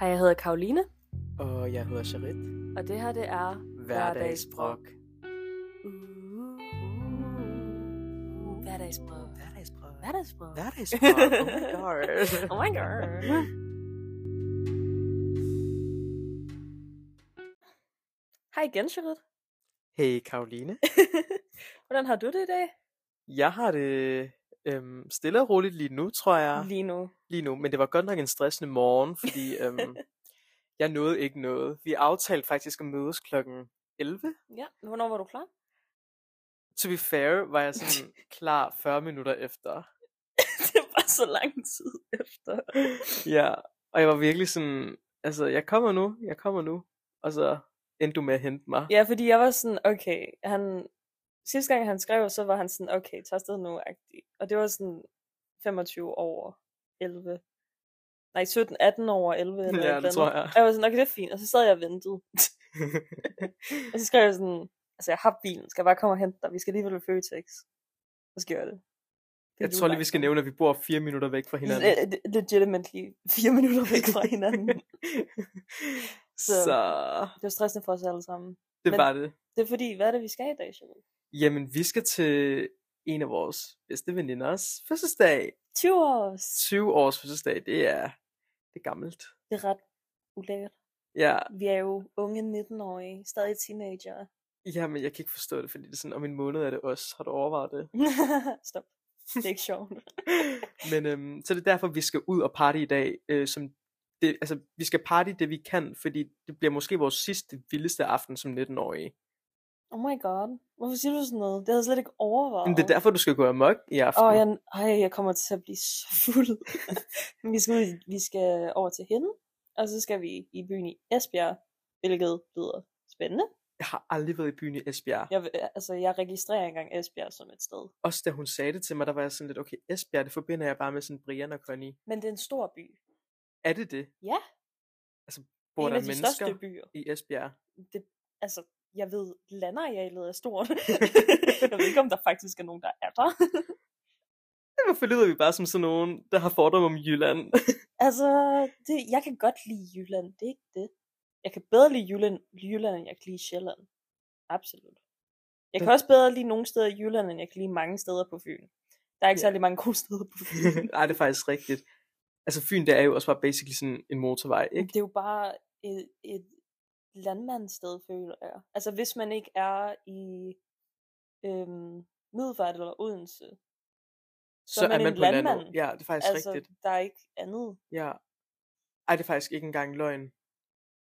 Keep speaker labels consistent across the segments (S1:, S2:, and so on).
S1: Og jeg hedder Karoline,
S2: Og jeg hedder Charit.
S1: og det her det er...
S2: Hverdagsbrok.
S1: Uh, Hverdagsbrød.
S2: Hverdagsbrok.
S1: Hverdagsbrød.
S2: Hverdagsbrok. Oh my
S1: Oh
S2: god.
S1: my god. Hej igen, Charit.
S2: Hey Karoline.
S1: Hvordan har du det i dag?
S2: Jeg har det øhm, stille og roligt lige nu, tror jeg.
S1: Lige nu.
S2: Lige nu. Men det var godt nok en stressende morgen, fordi øhm, jeg nåede ikke noget. Vi aftalte faktisk at mødes klokken 11.
S1: Ja, hvornår var du klar?
S2: To be fair, var jeg sådan klar 40 minutter efter.
S1: det var så lang tid efter.
S2: Ja, og jeg var virkelig sådan, altså jeg kommer nu, jeg kommer nu. Og så endte du med at hente mig.
S1: Ja, fordi jeg var sådan, okay, han... Sidste gang han skrev, så var han sådan, okay, tag afsted nu, agtig. Og det var sådan 25 over 11. Nej, 17, 18 over 11. Eller
S2: Ja,
S1: et
S2: det
S1: andet.
S2: tror jeg.
S1: Og jeg var sådan, okay, det er fint. Og så sad jeg og ventede. og så skrev jeg sådan, altså jeg har bilen, skal jeg bare komme og hente dig? Vi skal alligevel ved Føtex. Så skal jeg det. Fordi
S2: Jeg
S1: du
S2: tror
S1: er
S2: lige, vi
S1: langt
S2: skal
S1: væk.
S2: nævne, at vi bor fire minutter væk fra hinanden.
S1: Le- le- legitimately fire minutter væk fra hinanden.
S2: så...
S1: Så-
S2: så
S1: det var stressende for os alle sammen.
S2: det
S1: Men-
S2: var det.
S1: Det er fordi, hvad er det, vi skal i dag, Shabelle?
S2: Jamen, vi skal til en af vores bedste veninders fødselsdag.
S1: 20 års.
S2: 20 års fødselsdag, det er, det er gammelt.
S1: Det er ret ulækkert.
S2: Ja,
S1: Vi er jo unge 19-årige, stadig teenager.
S2: ja, men jeg kan ikke forstå det, fordi det er sådan, om en måned er det os. Har du overvejet det?
S1: Stop. Det er ikke sjovt.
S2: Men øhm, så det er derfor, vi skal ud og party i dag. Øh, som det, altså, vi skal party det, vi kan, fordi det bliver måske vores sidste vildeste aften som 19-årige.
S1: Oh my god. Hvorfor siger du sådan noget? Det havde jeg slet ikke overvejet.
S2: Men det er derfor, du skal gå amok i aften.
S1: Åh, oh, jeg, ej, jeg kommer til at blive så fuld. Men vi, skal ud, i- vi skal over til hende, og så skal vi i byen i Esbjerg, hvilket lyder spændende.
S2: Jeg har aldrig været i byen i Esbjerg.
S1: Jeg, vil- altså, jeg registrerer engang Esbjerg som et sted.
S2: Også da hun sagde det til mig, der var jeg sådan lidt, okay, Esbjerg, det forbinder jeg bare med sådan Brian og Connie.
S1: Men det er en stor by.
S2: Er det det?
S1: Ja,
S2: Bor
S1: en
S2: der
S1: af de
S2: mennesker
S1: største byer.
S2: i Esbjerg?
S1: Det, altså, jeg ved, landarealet er stort. jeg ved ikke, om der faktisk er nogen, der er der.
S2: Hvorfor lyder vi bare som sådan nogen, der har fordomme om Jylland?
S1: Altså, det, jeg kan godt lide Jylland, det er ikke det. Jeg kan bedre lide Jylland, Jylland end jeg kan lide Sjælland. Absolut. Jeg kan
S2: Det-
S1: også bedre lide nogle steder i Jylland, end jeg kan lide mange steder på Fyn. Der er ikke
S2: Ja.
S1: særlig mange gode steder på Fyn.
S2: Nej, det er faktisk rigtigt. Altså Fyn, det er jo også bare basically sådan en motorvej, ikke?
S1: det er jo bare et, et landmandssted, føler jeg. Altså, hvis man ikke er i øhm, Middelfart eller Odense, så er man en
S2: landet.
S1: landmand.
S2: Ja, det er
S1: altså,
S2: faktisk altså... rigtigt.
S1: der er ikke andet.
S2: Ja. Ej, det er faktisk ikke engang løgn.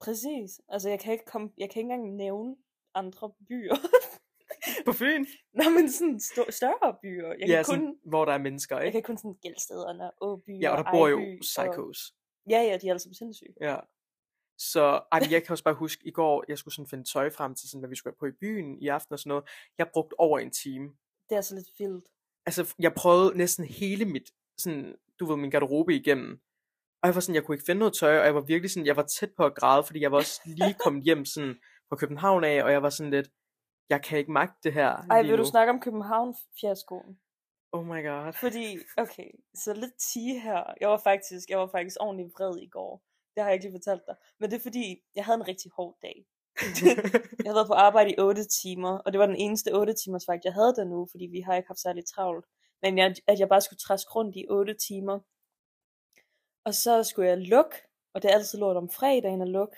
S1: Præcis. Altså, jeg kan ikke, komme, jeg kan ikke engang nævne andre byer.
S2: På Fyn?
S1: Nå, men sådan stå- større byer. Jeg kan,
S2: Ja,
S1: kun,
S2: sådan, hvor der er mennesker,
S1: jeg
S2: ikke?
S1: kan kun sådan gældstederne og Åby
S2: Ja, og der bor jo
S1: Ejby Og...
S2: psychos.
S1: Ja, ja, de er alle sammen sindssyge.
S2: Ja. Så ej, men jeg kan også bare huske, i går, jeg skulle sådan finde tøj frem til, sådan, hvad vi skulle have på i byen i aften og sådan noget. Jeg brugte over en time.
S1: Det er så lidt vildt.
S2: Altså, jeg prøvede næsten hele mit, sådan, du ved, min garderobe igennem. Og jeg var sådan, jeg kunne ikke finde noget tøj, og jeg var virkelig sådan, jeg var tæt på at græde, fordi jeg var også lige kommet hjem sådan fra København af, og jeg var sådan lidt, jeg kan ikke magte det her
S1: Ej,
S2: lige
S1: vil du
S2: nu.
S1: snakke om København-fiaskoen?
S2: Oh my god.
S1: Fordi, okay, så lidt tige her. Jeg var faktisk, jeg var faktisk ordentligt vred i går. Det har jeg ikke lige fortalt dig. Men det er fordi, jeg havde en rigtig hård dag. Jeg havde været på arbejde i 8 timer, og det var den eneste 8 timers vagt, jeg havde der nu, fordi vi har ikke haft særlig travlt. Men jeg, at jeg bare skulle træske rundt i 8 timer. Og så skulle jeg lukke, og det er altid lort om fredagen at lukke.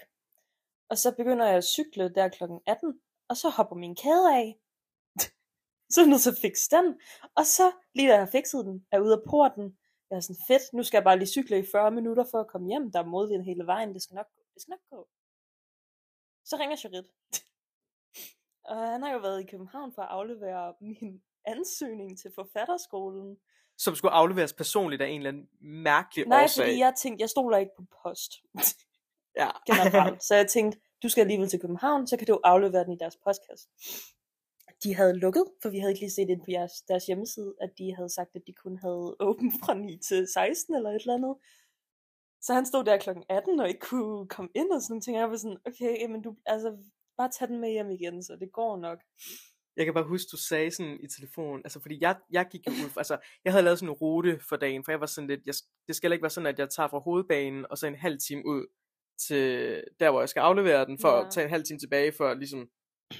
S1: Og så begynder jeg at cykle der kl. 18, og så hopper min kæde af. så er jeg nødt til at fikse den. Og så, lige da jeg har fikset den, er jeg ude af porten. Jeg er sådan, fedt, nu skal jeg bare lige cykle i 40 minutter for at komme hjem. Der er modvind hele vejen, det skal nok gå. Det skal nok gå. Så ringer Charit. Og han har jo været i København for at aflevere min ansøgning til forfatterskolen.
S2: Som skulle afleveres personligt af en eller anden mærkelig
S1: Nej,
S2: årsag.
S1: fordi jeg tænkte, jeg stoler ikke på post
S2: Ja.
S1: generelt. så jeg tænkte, du skal alligevel til København, så kan du aflevere den i deres postkasse. De havde lukket, for vi havde ikke lige set ind på jeres, deres hjemmeside, at de havde sagt, at de kun havde åbent fra 9 til 16 eller et eller andet. Så han stod der klokken 18 og ikke kunne komme ind og sådan nogle ting. Og jeg var sådan, okay, jamen du, altså, bare tag den med hjem igen, så det går nok.
S2: Jeg kan bare huske, du sagde sådan i telefonen, altså fordi jeg, jeg gik jo ud, fra- altså jeg havde lavet sådan en rute for dagen, for jeg var sådan lidt, jeg, det skal heller ikke være sådan, at jeg tager fra hovedbanen og så en halv time ud. til der, hvor jeg skal aflevere den, for ja.
S1: Ja.
S2: at tage en halv time tilbage, for ligesom,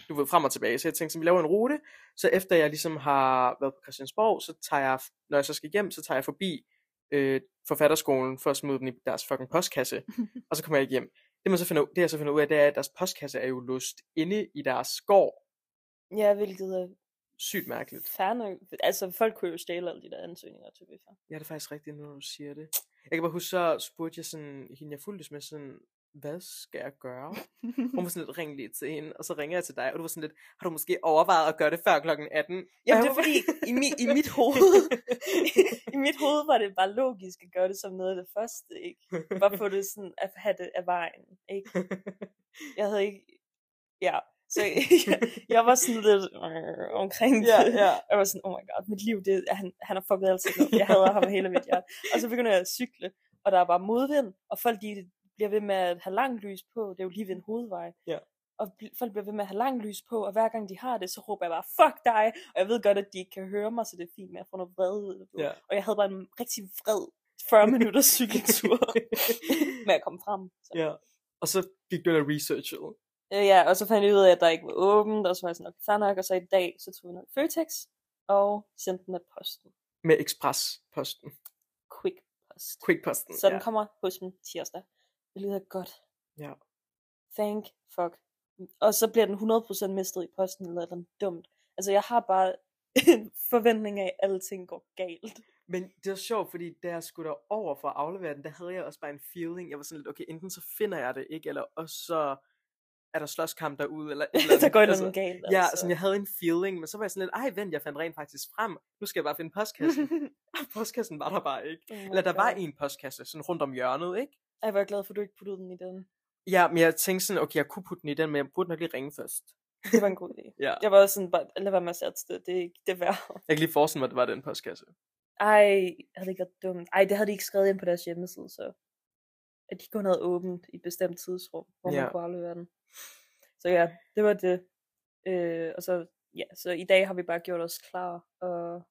S2: du ved, frem og tilbage. Så jeg tænkte, så vi laver en rute, så efter jeg ligesom har været på Christiansborg, så tager jeg, når jeg så skal hjem, så tager jeg forbi øh, forfatterskolen for at smide den i deres fucking postkasse, og så kommer jeg ikke hjem. Det, man så finder, det jeg så finder ud af, det er, at deres postkasse er jo låst inde i deres skår.
S1: Ja, hvilket er
S2: Sygt mærkeligt.
S1: fair nok. Altså, folk kunne jo stjæle alle de der ansøgninger til Biffa.
S2: Ja, det er faktisk rigtigt, når du siger det. Jeg kan bare huske, så spurgte jeg sådan, hende jeg fulgtes med sådan, hvad skal jeg gøre? Hun var sådan lidt, ring lige til hende, og så ringer jeg til dig, og du var sådan lidt, har du måske overvejet at gøre det før klokken 18?
S1: Jamen, det er fordi, i, mi, i mit hoved, i mit hoved var det bare logisk at gøre det som noget af det første, ikke? Bare få det sådan, at have det af vejen, ikke? Jeg havde ikke, ja, så jeg, jeg var sådan lidt øh, omkring det.
S2: ja, ja.
S1: Jeg var sådan, oh my god, mit liv, det, er- han, han har fucket altid op. Jeg hader ham af hele mit hjerte. Og så begynder jeg at cykle, og der er bare modvind, og folk de bliver ved med at have langt lys på. Det er jo lige ved en hovedvej.
S2: Ja.
S1: Og bl- folk bliver ved med at have langt lys på, og hver gang de har det, så råber jeg bare, fuck dig! Og jeg ved godt, at de ikke kan høre mig, så det er fint, men jeg får noget vrede ud af det.
S2: Ja.
S1: Og jeg havde bare en rigtig vred 40 minutters cykeltur med at komme frem. Så.
S2: ja. Og så gik du ind og researchede.
S1: Øh, Ja, og så fandt jeg ud af, at der ikke var åbent, og så var jeg sådan, okay, fair nok, og så i dag, så tog jeg ned i Føtex, og sendte den af posten.
S2: Med ekspresposten.
S1: Quick post.
S2: Quickposten.
S1: Så den
S2: ja.
S1: kommer hos dem tirsdag. Det lyder godt.
S2: Ja.
S1: Thank fuck. Og så bliver den 100% mistet i posten eller noget dumt. Altså jeg har bare en forventning af, at alting går galt.
S2: Men det var sjovt, fordi da jeg skulle over for at aflevere den, der havde jeg også bare en feeling. Jeg var sådan lidt, okay, enten så finder jeg det ikke, eller også så er der slåskamp derude, eller... et eller
S1: der
S2: andet.
S1: går et eller
S2: Altså,
S1: andet galt.
S2: Ja, sådan, jeg havde en feeling, men så var jeg sådan lidt, ej vent, jeg fandt rent faktisk frem. Nu skal jeg bare finde postkassen. Og postkassen var der bare ikke.
S1: oh my
S2: Eller der var
S1: God.
S2: en postkasse, sådan rundt om hjørnet, ikke?
S1: Ej, hvor er jeg glad for, at du ikke puttede den i den.
S2: Ja, men jeg tænkte sådan, okay, jeg kunne putte den i den, men jeg burde nok lige ringe først.
S1: Det var en god idé.
S2: Ja.
S1: Jeg var også sådan, bare, lad være med at sætte det. Det er ikke det værd.
S2: Jeg kan lige forestille mig, at det var den postkasse.
S1: Ej, havde det ikke været dumt. Ej, det havde de ikke skrevet ind på deres hjemmeside, så at de kun havde åbent i et bestemt tidsrum, hvor ja.
S2: Ja.
S1: man kunne aflevere den. Så ja, det var det. Øh, og så, ja, så i dag har vi bare gjort os klar og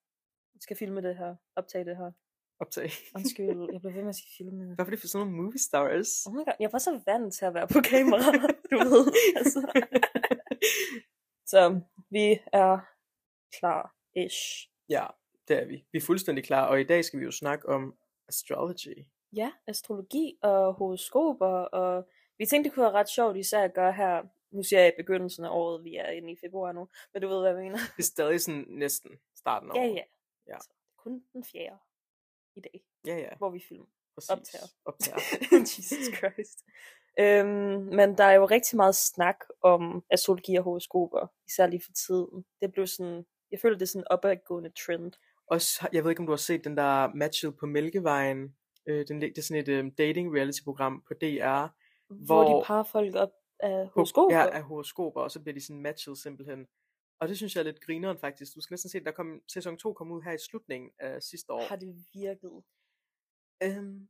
S1: skal filme det her, optage det her.
S2: Optag.
S1: Undskyld, jeg blev ved med at sige filme.
S2: Hvorfor er det for sådan nogle movie stars?
S1: Oh my God, jeg var så vant til at være på kamera, du ved. Altså. Så vi er klar-ish.
S2: Ja, det er vi. Vi er fuldstændig klar, og i dag skal vi jo snakke om astrology.
S1: Ja, astrologi og horoskoper, og vi tænkte, det kunne være ret sjovt især at gøre her, nu siger jeg i begyndelsen af året, vi er inde i februar nu, men du ved, hvad jeg mener.
S2: Det er stadig sådan næsten starten af
S1: Ja,
S2: året.
S1: ja.
S2: Ja.
S1: Så, kun den fjerde i dag,
S2: Ja, ja.
S1: hvor vi filmer.
S2: Præcis.
S1: Optager.
S2: Optager.
S1: Jesus Christ. Øhm, men der er jo rigtig meget snak om astrologi og horoskoper, især lige for tiden. Det blev sådan, jeg føler, det er sådan en opadgående trend.
S2: Og jeg ved ikke, om du har set den der matchet på Mælkevejen. Øh, den, lig- det er sådan et øh, dating reality program på DR.
S1: Hvor, hvor
S2: Hvor-
S1: de parer folk op af horoskoper.
S2: Ja, af horoskoper, og så bliver de sådan matchet simpelthen. Og det synes jeg er lidt grineren faktisk. Du skal næsten se, der kom, sæson 2 kom ud her i slutningen af sidste år.
S1: Har det virket?
S2: Øhm,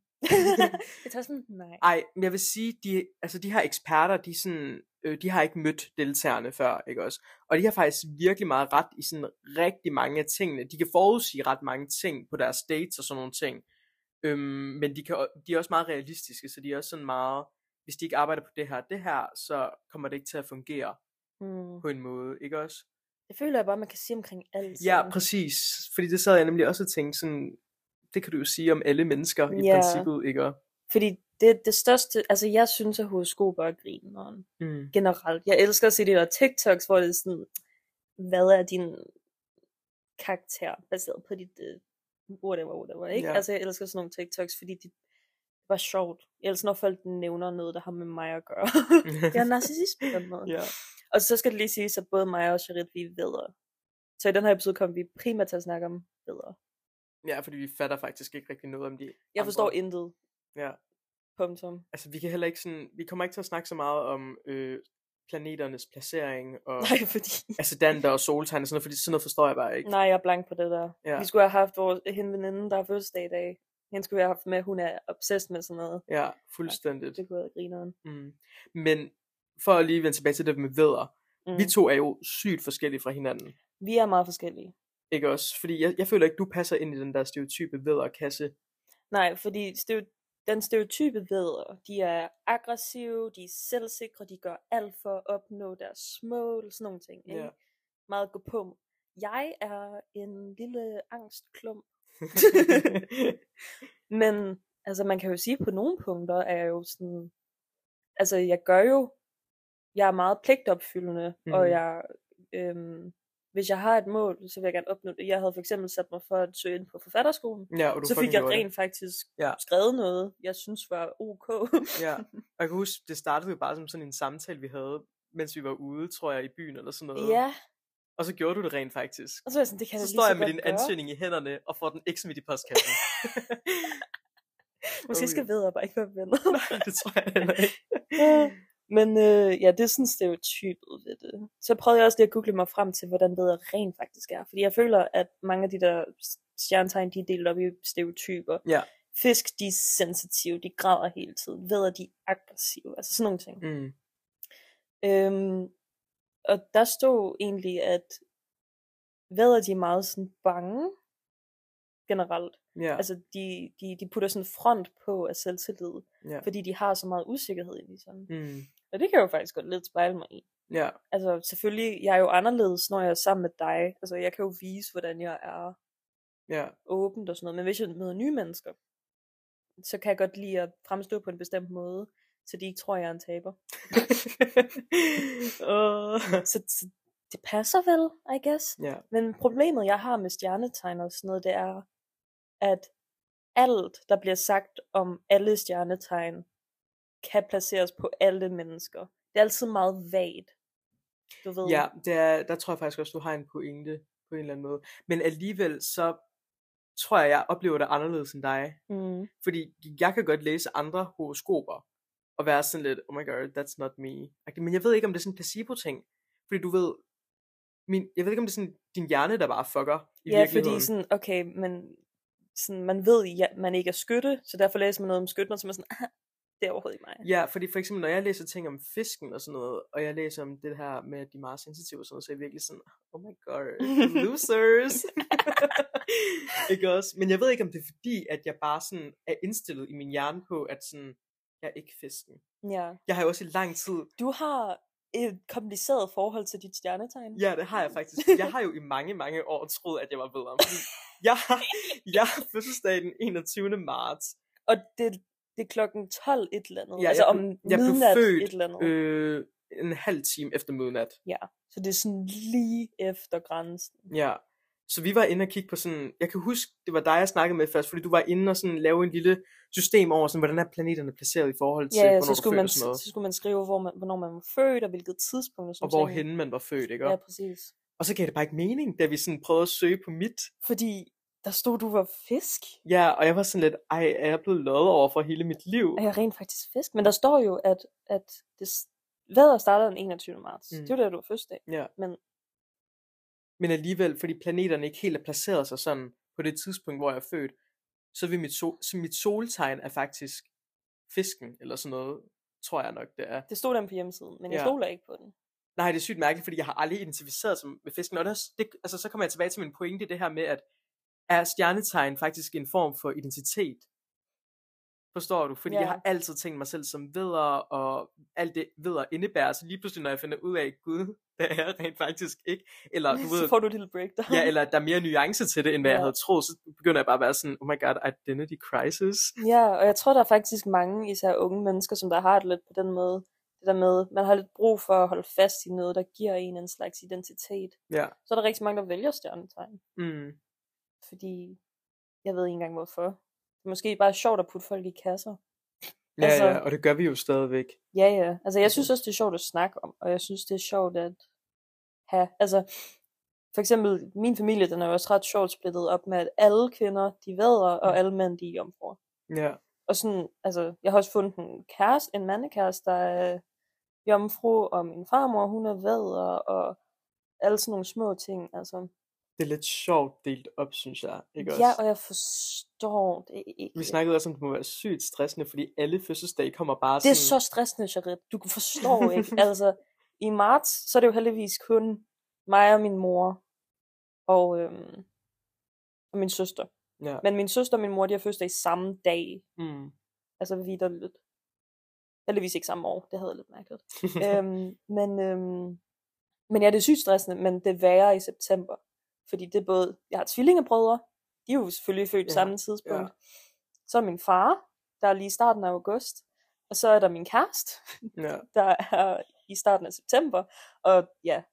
S1: jeg tager sådan, nej.
S2: ej, men jeg vil sige, de, altså de her eksperter, de, er sådan, øh, de har ikke mødt deltagerne før, ikke også? Og de har faktisk virkelig meget ret i sådan rigtig mange af tingene. De kan forudsige ret mange ting på deres dates og sådan nogle ting. Øhm, men de, kan, o- de er også meget realistiske, så de er også sådan meget, hvis de ikke arbejder på det her og det her, så kommer det ikke til at fungere
S1: Mm.
S2: på en måde, ikke også?
S1: Det føler jeg bare, man kan sige omkring alt.
S2: Ja,
S1: sådan.
S2: præcis. Fordi det sad jeg nemlig også og tænkte sådan, det kan du jo sige om alle mennesker i
S1: Ja.
S2: princippet, ikke? Og-
S1: Fordi det, det største, altså jeg synes, at horoskoper er grineren
S2: Mm.
S1: generelt. Jeg elsker at se de der TikToks, hvor det er sådan, hvad er din karakter baseret på dit uh, whatever, whatever, ikke?
S2: Ja.
S1: Altså jeg elsker sådan nogle TikToks, fordi de det var sjovt. Jeg elsker, når folk nævner noget, der har med mig at gøre. jeg er narcissist på den måde.
S2: ja.
S1: Og så skal det lige siges, at både mig og Charit, vi er vedder. Så i den her episode kommer vi primært til at snakke om vedder.
S2: ja, fordi vi fatter faktisk ikke rigtig noget om de
S1: Jeg forstår
S2: andre.
S1: intet.
S2: Ja.
S1: Punktum.
S2: Altså, vi kan heller ikke sådan, vi kommer ikke til at snakke så meget om øh, planeternes placering og
S1: Nej, fordi...
S2: ascendanter og soltegn og sådan noget, fordi sådan noget forstår jeg bare ikke.
S1: Nej, jeg er blank på det der. Ja.
S2: Ja.
S1: Vi skulle have haft vores, hende veninde, der har fødselsdag i dag. Hende skulle vi have haft med, hun er obsessed med sådan noget.
S2: Ja, fuldstændigt.
S1: Det kunne være grineren.
S2: Mm. Men for at lige vende tilbage til det med vedder,
S1: Mm.
S2: mm. vi to er jo sygt forskellige fra hinanden.
S1: vi er meget forskellige.
S2: Ikke også? Fordi jeg, jeg føler ikke, du passer ind i den der stereotype vedderkasse.
S1: Nej, fordi steo- den stereotype vædder, de er aggressive, de er selvsikre, de gør alt for at opnå deres mål, sådan nogle ting. Ikke?
S2: Ja.
S1: Meget at gå på. Jeg er en lille angstklump, men altså, man kan jo sige, at på nogle punkter er jeg jo sådan, altså jeg gør jo, jeg er meget pligtopfyldende, mm.
S2: Mhm.
S1: og jeg, øhm, hvis jeg har et mål, så vil jeg gerne opnå det. Jeg havde for eksempel sat mig for at søge ind på forfatterskolen,
S2: ja, og du
S1: så
S2: fucking
S1: fik jeg
S2: gjorde det.
S1: rent faktisk
S2: Ja.
S1: ja. skrevet noget, jeg synes var ok.
S2: Ja, og jeg kan huske, det startede jo bare som sådan en samtale, vi havde, mens vi var ude, tror jeg, i byen eller sådan noget.
S1: ja,
S2: Og så gjorde du det rent faktisk.
S1: og så er jeg sådan, det kan
S2: Så
S1: da lige
S2: står jeg med
S1: godt
S2: din
S1: gøre.
S2: ansøgning i hænderne, og får den ikke smidt i postkassen.
S1: Måske
S2: Okay.
S1: skal ved jeg bare ikke være venner.
S2: Nej, det tror jeg heller ikke.
S1: Men øh, ja, det er sådan stereotypet ved det. Så prøvede jeg også lige at google mig frem til, hvordan bedre rent faktisk er. Fordi jeg føler, at mange af de der s- stjernetegn, de er delt op i stereotyper.
S2: Ja.
S1: Fisk, de er sensitive, de græder hele tiden. Ved de er aggressive, altså sådan nogle ting.
S2: Mm.
S1: Øhm, og der stod egentlig, at vædder de er meget sådan bange generelt.
S2: Ja.
S1: Altså de, de, de putter sådan front på af selvtillid,
S2: Ja.
S1: fordi de har så meget usikkerhed ind i sig.
S2: Mm.
S1: Og det kan jeg jo faktisk godt lidt spejle mig i.
S2: Ja.
S1: Altså selvfølgelig, jeg er jo anderledes, når jeg er sammen med dig. Altså jeg kan jo vise, hvordan jeg er
S2: Ja.
S1: åbent og sådan noget. Men hvis jeg møder nye mennesker, så kan jeg godt lide at fremstå på en bestemt måde, så de ikke tror, jeg er en taber.
S2: Åh.
S1: Så, så det passer vel, I guess.
S2: ja.
S1: Men problemet, jeg har med stjernetegn og sådan noget, det er, at alt, der bliver sagt om alle stjernetegn, kan placeres på alle mennesker. Det er altid meget vagt. Du ved.
S2: Ja, det er, der tror jeg faktisk også, du har en pointe på en eller anden måde. Men alligevel så tror jeg, jeg oplever det anderledes end dig.
S1: Mm.
S2: Fordi jeg kan godt læse andre horoskoper og være sådan lidt, oh my god, that's not me. Agtig, Men jeg ved ikke, om det er sådan en placebo-ting. Fordi du ved, min, jeg ved ikke, om det er sådan din hjerne, der bare fucker i
S1: ja fordi
S2: virkeligheden.
S1: sådan, okay, men sådan, man ved, at ja, man ikke er skytte, så derfor læser man noget om skytten, og så er man sådan, ah, det er overhovedet ikke mig.
S2: Ja, fordi for eksempel, når jeg læser ting om fisken og sådan noget, og jeg læser om det her med, at de er meget sensitive og sådan noget, så er jeg virkelig sådan, oh my god, losers. ikke også? Men jeg ved ikke, om det er fordi, at jeg bare sådan er indstillet i min hjerne på, at sådan, jeg er ikke fisken.
S1: Ja.
S2: Jeg har jo også i lang tid,
S1: Du har et kompliceret forhold til dit stjernetegn.
S2: ja, det har jeg faktisk, jeg har jo i mange, mange år troet, at jeg var bedre. Fordi jeg har, jeg har fødselsdag den 21. marts.
S1: Og det, det er klokken 12 et eller andet.
S2: Ja,
S1: Ja, altså
S2: jeg
S1: om
S2: blev- jeg blev
S1: midnat
S2: født,
S1: et eller andet. Øh.
S2: Øh, en halv time efter midnat.
S1: Så det er sådan lige efter grænsen.
S2: Ja, så vi var inde og kigge på sådan, jeg kan huske, det var dig, jeg snakkede med først, fordi du var inde og sådan lave en lille system over, sådan, hvordan er planeterne placeret i forhold til,
S1: Ja, ja
S2: hvornår
S1: så,
S2: du
S1: skulle
S2: født
S1: man,
S2: og sådan noget,
S1: så skulle man skrive, hvor man, hvornår man var født, og hvilket tidspunkt. Og, sådan
S2: og
S1: nogle ting.
S2: hvorhen man var født, ikke?
S1: Ja,
S2: Ja.
S1: præcis.
S2: Og så gav det bare ikke mening, da vi sådan prøvede at søge på mit.
S1: Fordi der stod, du var fisk.
S2: Ja, og jeg var sådan lidt, ej, er jeg blevet lovet over for hele mit liv?
S1: Er jeg rent faktisk fisk? Men der står jo, at, at det, hvad starter den 21. marts.
S2: Mm.
S1: Mm. Det var da, du var fødselsdag.
S2: Ja.
S1: Men-
S2: Men alligevel, fordi planeterne ikke helt har placeret sig sådan på det tidspunkt, hvor jeg er født, så vil mit, sol, så mit soltegn er faktisk fisken, eller sådan noget, tror jeg nok, det er.
S1: Det stod den på hjemmesiden, men jeg
S2: Ja.
S1: stoler ikke på den.
S2: Nej, det er sygt mærkeligt, fordi jeg har aldrig identificeret som med fisken. Og det, er også- det, altså, så kommer jeg tilbage til min pointe, det her med, at er stjernetegn faktisk en form for identitet? Forstår du? Fordi ja.
S1: Ja.
S2: jeg har altid tænkt mig selv som vedder, og alt det vedder indebærer. Så lige pludselig, når jeg finder ud af, gud, det er jeg rent faktisk ikke. Eller, du
S1: så
S2: ved,
S1: får du et lille breakdown.
S2: ja, eller der er mere nuance til det, end hvad ja. jeg
S1: Ja.
S2: havde troet. Så begynder jeg bare at være sådan, oh my god, identity crisis.
S1: Ja, og jeg tror, der er faktisk mange, især unge mennesker, som der har det lidt på den måde. Det der med, man har lidt brug for at holde fast i noget, der giver en en slags identitet.
S2: Ja.
S1: Så er der rigtig mange, der vælger stjernetegn.
S2: Mm.
S1: Fordi jeg ved ikke engang hvorfor. Det er måske bare sjovt at putte folk i kasser.
S2: Ja,
S1: Altså-
S2: altså... ja, og det gør vi jo stadigvæk.
S1: Ja, ja. Altså, jeg synes også, det er sjovt at snakke om, og jeg synes, det er sjovt at have. Altså, for eksempel, min familie, den er jo også ret sjovt splittet op med, at alle kvinder, de er vædder,
S2: Mm.
S1: og alle mænd, de er jomfruer.
S2: Ja.
S1: Og sådan, altså, jeg har også fundet en kæreste, en mandekæreste, der er jomfru, og min farmor, hun er vædder, og alle sådan nogle små ting, altså.
S2: Det er lidt sjovt delt op, synes jeg. Ikke også?
S1: Ja, og jeg forstår det ikke.
S2: Vi snakkede også om, at det må være sygt stressende, fordi alle fødselsdage kommer bare
S1: Det er
S2: sådan...
S1: så stressende, Charit. Du forstår ikke. altså, i marts, så er det jo heldigvis kun mig og min mor, og, øhm, og min søster.
S2: Ja.
S1: Men min søster og min mor, de har fødselsdag samme dag.
S2: Mm.
S1: Altså vidderligt. Heldigvis ikke samme år, det havde jeg lidt mærket. øhm, men, øhm, men ja, det er sygt stressende, men det er værre i september. Fordi det er både, jeg har tvillingebrødre, de er jo selvfølgelig født ja,
S2: Ja,
S1: samme tidspunkt. Ja. Så er min far, der er lige i starten af august. Og så er der min kæreste,
S2: ja,
S1: der er i starten af september. Og ja,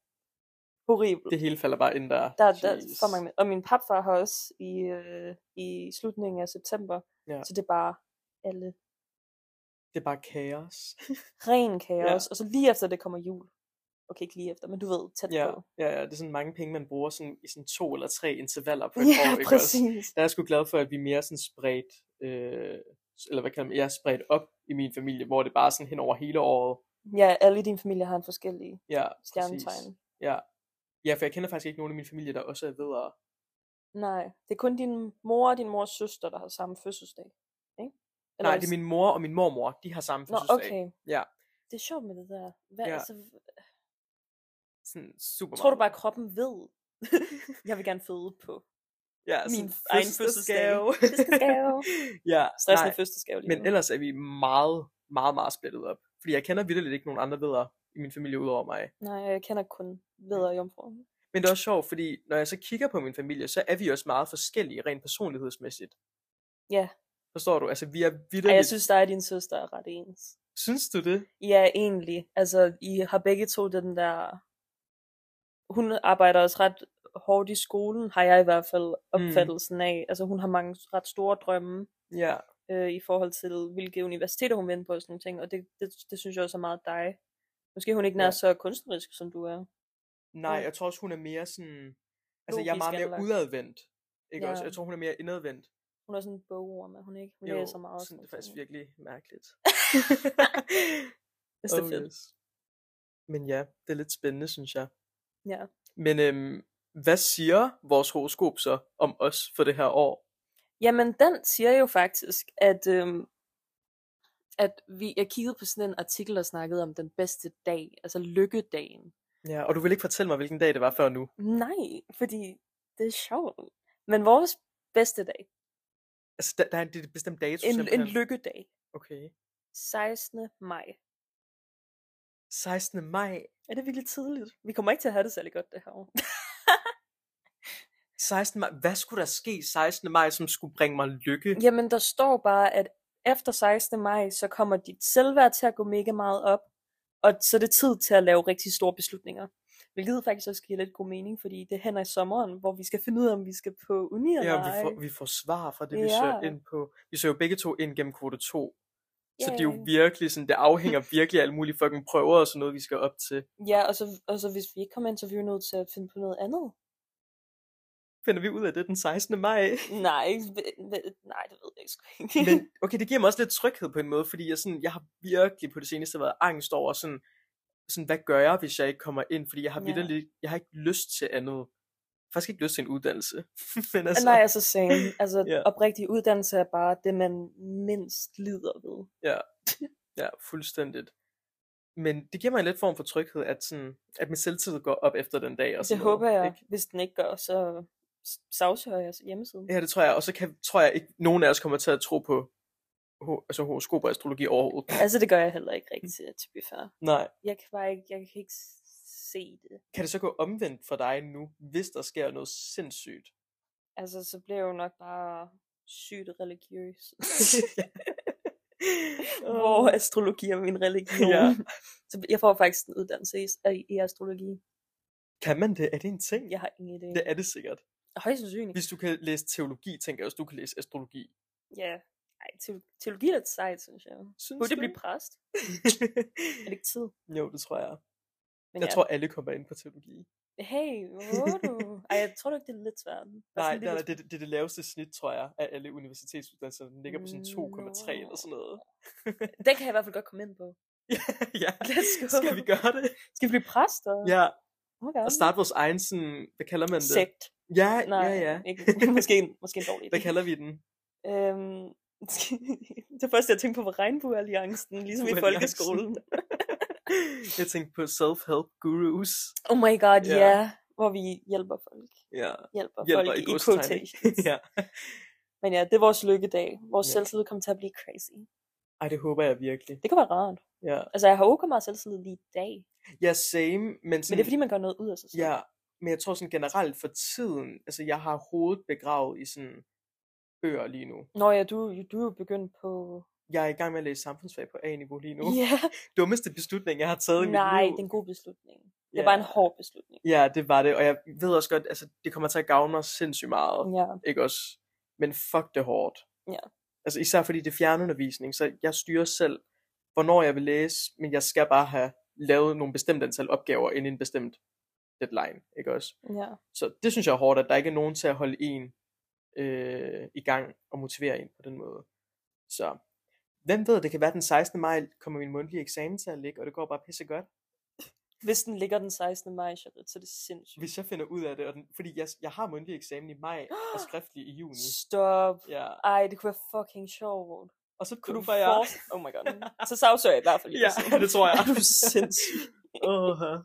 S1: horribelt.
S2: det hele falder bare ind der.
S1: Der, der
S2: Jeez.
S1: for mange, og min papfar har også i, øh, i slutningen af september,
S2: Ja.
S1: så det er bare alle
S2: Det er bare kaos.
S1: ren kaos. Ja. Og så lige efter det kommer jul. Okay, ikke lige efter, men du ved, tæt
S2: Ja,
S1: på.
S2: ja, ja, det er sådan mange penge, man bruger sådan, i sådan to eller tre intervaller på et år.
S1: Ja,
S2: ikke også?
S1: præcis.
S2: Der er jeg sgu glad for, at vi er mere sådan spredt, øh, eller hvad kalder man, jeg er spredt op i min familie, hvor det bare er sådan hen over hele året.
S1: Ja, alle i din familie har en forskellig
S2: Ja, præcis.
S1: stjernetegn.
S2: Ja. ja, for jeg kender faktisk ikke nogen i min familie, der også er ved at...
S1: Nej, det er kun din mor og din mors søster, der har samme fødselsdag. Ikke?
S2: Nej, det er min mor og min mormor, de har
S1: Nå,
S2: samme fødselsdag.
S1: okay.
S2: Ja.
S1: Det er sjovt med det der. Hvad, ja.
S2: Ja.
S1: altså,
S2: Sådan super
S1: tror du bare,
S2: meget.
S1: at kroppen ved, jeg vil gerne føde på
S2: ja,
S1: min
S2: sådan
S1: egen fødselsdag? Fødselsdagsgave.
S2: ja,
S1: Stressende
S2: nej.
S1: fødselsdagsgave lige
S2: Men
S1: nu.
S2: ellers er vi meget, meget, meget splittet op. Fordi jeg kender vidderligt ikke nogen andre videre i min familie udover mig.
S1: Nej, jeg kender kun Vedder og Jomfru.
S2: Men det er også sjovt, fordi når jeg så kigger på min familie, så er vi også meget forskellige rent personlighedsmæssigt.
S1: Ja.
S2: Forstår du? Altså, vi er
S1: Ej,
S2: vidderligt...
S1: jeg synes, dig og din søster er ret ens.
S2: synes du det?
S1: Ja, egentlig. Altså, I har begge to den der... Hun arbejder også ret hårdt i skolen, har jeg i hvert fald
S2: Mm.
S1: opfattelsen af. Altså, hun har mange ret store drømme
S2: Ja.
S1: øh, i forhold til, hvilke universiteter hun vil ind på og sådan nogle ting. Og det, det, det synes jeg også er meget dig. Måske er hun ikke nær
S2: Ja.
S1: så kunstnerisk, som du er.
S2: Nej,
S1: Mm.
S2: jeg tror også, hun er mere sådan... Altså, jeg er
S1: Logisk
S2: meget mere
S1: anlagt.
S2: udadvendt. Ikke
S1: Ja.
S2: også? Jeg tror, hun er mere indadvendt.
S1: Hun er sådan en bogorm, er hun ikke? Hun læser meget. og
S2: sådan, det er
S1: nogle
S2: faktisk
S1: ting.
S2: virkelig mærkeligt.
S1: Jeg synes, Altså, det er
S2: Oh,
S1: fedt.
S2: yes. Men ja, det er lidt spændende, synes jeg.
S1: Ja.
S2: Men øhm, hvad siger vores horoskop så om os for det her år?
S1: Jamen, den siger jo faktisk, at, øhm, at vi, jeg kiggede på sådan en artikel, der snakkede om den bedste dag, altså lykkedagen.
S2: Ja, og du vil ikke fortælle mig, hvilken dag det var før nu.
S1: Nej, fordi det er sjovt. Men vores bedste dag,
S2: Altså, der, der er et bestemt dato
S1: en, en
S2: simpelthen.
S1: lykkedag,
S2: Okay.
S1: 16. maj.
S2: 16. maj.
S1: Er det virkelig tidligt? Vi kommer ikke til at have det særlig godt det her år.
S2: 16. maj. Hvad skulle der ske 16. maj, som skulle bringe mig lykke?
S1: Jamen, der står bare, at efter 16. maj, så kommer dit selvværd til at gå mega meget op, og så er det tid til at lave rigtig store beslutninger. Hvilket faktisk også giver lidt god mening, fordi det er hen ad sommeren, hvor vi skal finde ud af, om vi skal på uni eller
S2: Ja, vi
S1: ej.
S2: får, vi får svar fra det, vi søger
S1: Ja.
S2: ind på. Vi søger jo begge to ind gennem kvote 2. Så det er
S1: Ja.
S2: jo virkelig sådan, det afhænger virkelig af alle mulige fucking prøver og sådan noget, vi skal op til.
S1: Ja, og så, og så hvis vi ikke kommer ind, så er vi jo nødt til at finde på noget andet.
S2: Finder vi ud af det den 16. maj?
S1: Nej, v- v- nej det ved jeg sgu ikke.
S2: Men okay, det giver mig også lidt tryghed på en måde, fordi jeg, sådan, jeg har virkelig på det seneste været angst over sådan, sådan hvad gør jeg, hvis jeg ikke kommer ind? Fordi jeg har,
S1: Ja.
S2: ja. jeg har ikke lyst til andet. Faktisk ikke lyst til en uddannelse. Men altså,
S1: Nej, altså same. Altså,
S2: Ja.
S1: yeah. oprigtig uddannelse er bare det, man mindst lider ved.
S2: Ja, fuldstændigt. Men det giver mig en lidt form for tryghed, at, sådan, at min selvtid går op efter den dag. Og
S1: det
S2: sådan noget,
S1: håber jeg.
S2: Ikke?
S1: Ikke? Hvis den ikke gør, så s- sagsøger jeg hjemmesiden.
S2: Ja, det tror jeg. Og så kan, tror jeg ikke, nogen af os kommer til at tro på ho- altså horoskop og astrologi overhovedet.
S1: Altså, det gør jeg heller
S2: Mm.
S1: ikke rigtigt, to be fair.
S2: Nej.
S1: Jeg kan bare ikke, jeg kan ikke se det.
S2: Kan det så gå omvendt for dig nu, hvis der sker noget sindssygt?
S1: Altså, så bliver jeg jo nok bare sygt religiøs. Hvor
S2: Åh.
S1: astrologi er min religion.
S2: Ja.
S1: Så jeg får faktisk en uddannelse i, i- i astrologi.
S2: Kan man det? Er det en ting?
S1: Jeg har ingen idé.
S2: Det er det sikkert.
S1: Højst sandsynligt.
S2: Hvis du kan læse teologi, tænker jeg også, du kan læse astrologi.
S1: Ja. Ej, te- teologi er lidt sejt, synes jeg.
S2: Synes
S1: Burde jeg
S2: du
S1: blive
S2: ikke?
S1: præst? Er det ikke tid?
S2: jo, det tror jeg.
S1: Men
S2: jeg
S1: ja.
S2: tror, alle kommer ind på teologi.
S1: Hey, hvor du? Ej, jeg tror nok, det er lidt svært. Bare
S2: Nej,
S1: Altså, sådan
S2: nej, nej
S1: lidt-
S2: det, det er det laveste snit, tror jeg, af alle universitetsuddannelser. Den ligger på sådan 2,3 eller sådan noget.
S1: Den kan jeg i hvert fald godt komme ind på.
S2: ja,
S1: Let's go.
S2: skal vi gøre det?
S1: Skal vi blive præster?
S2: Ja,
S1: Oh my God.
S2: og starte vores egen sådan, hvad kalder man det?
S1: Sekt.
S2: Ja,
S1: Nej,
S2: ja, ja.
S1: Ikke, måske, en- måske en dårlig idé.
S2: Hvad kalder vi den?
S1: Øhm, det første, jeg tænkte på, var regnbuealliancen, ligesom i
S2: Regnbuealliancen.
S1: folkeskolen.
S2: Jeg tænkte på self-help gurus.
S1: Oh my god, ja.
S2: Ja.
S1: Yeah. Hvor vi hjælper folk.
S2: Ja,
S1: Hjælper,
S2: hjælper
S1: folk
S2: i
S1: i
S2: godstegn, ikke?
S1: quotations.
S2: ja.
S1: Men ja, det er vores lykkedag. Vores
S2: Ja.
S1: selvtillid kommer til at blive crazy.
S2: Ej, det håber jeg virkelig.
S1: Det kan være rart.
S2: Ja,
S1: Altså, jeg har jo meget selvtillid lige i dag.
S2: ja same, men
S1: Men
S2: sådan,
S1: det er fordi, man gør noget ud af sig selv.
S2: ja, men jeg tror sådan generelt for tiden, altså jeg har hovedet begravet i sådan bøger lige nu.
S1: Nå ja, du, du er jo begyndt på...
S2: Jeg er i gang med at læse samfundsfag på A-niveau lige nu.
S1: Ja,
S2: Dummeste beslutning, jeg har taget i
S1: nej,
S2: mit liv.
S1: det er en god beslutning. Det
S2: Ja.
S1: er bare en hård beslutning.
S2: Ja, det var det, og jeg ved også godt, altså det kommer til at gavne mig sindssygt meget.
S1: Ja,
S2: ikke også? Men fuck det hårdt.
S1: Ja.
S2: Altså især fordi det er fjernundervisning, så jeg styrer selv, hvornår jeg vil læse, men jeg skal bare have lavet nogle bestemt antal opgaver inden en bestemt deadline, ikke også?
S1: ja.
S2: Så det synes jeg er hårdt, at der ikke er nogen til at holde en øh, i gang og motivere en på den måde. Så hvem ved, det kan være den 16. maj kommer min mundtlige eksamen til at ligge, og det går bare pisse godt.
S1: Hvis den ligger den 16. maj, Charlotte, så er det sindssygt.
S2: Hvis jeg finder ud af det, og den, fordi jeg, jeg har mundtlig eksamen i maj og skriftlig i juni.
S1: Stop.
S2: Ja.
S1: Ej, det kunne være fucking sjovt.
S2: Og så
S1: Kunne
S2: kunne du
S1: du
S2: bare jeg...
S1: forestille- Oh my god. Så sagsøger jeg i hvert fald lige.
S2: Ja,
S1: sådan.
S2: det tror jeg.
S1: Er du sindssyg?
S2: Uh-huh.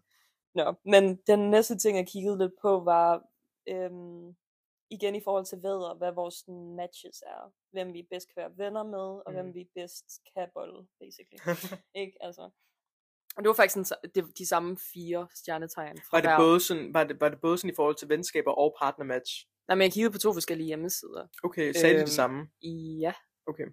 S1: Nå, men den næste ting, jeg kiggede lidt på, var øhm, igen i forhold til vædder, hvad vores sådan, matches er. Hvem vi bedst kan være venner med, og mm.
S2: Mm.
S1: hvem vi bedst kan bolle, basically. Ikke? Altså. Og det var faktisk en, det, de samme fire stjernetegn. Fra
S2: var, det
S1: hver.
S2: både sådan, var, det, var det både sådan i forhold til venskaber og partnermatch?
S1: Nej, men jeg kiggede på to forskellige hjemmesider.
S2: Okay, sagde øhm, de det
S1: Øhm,
S2: samme?
S1: Ja.
S2: Okay.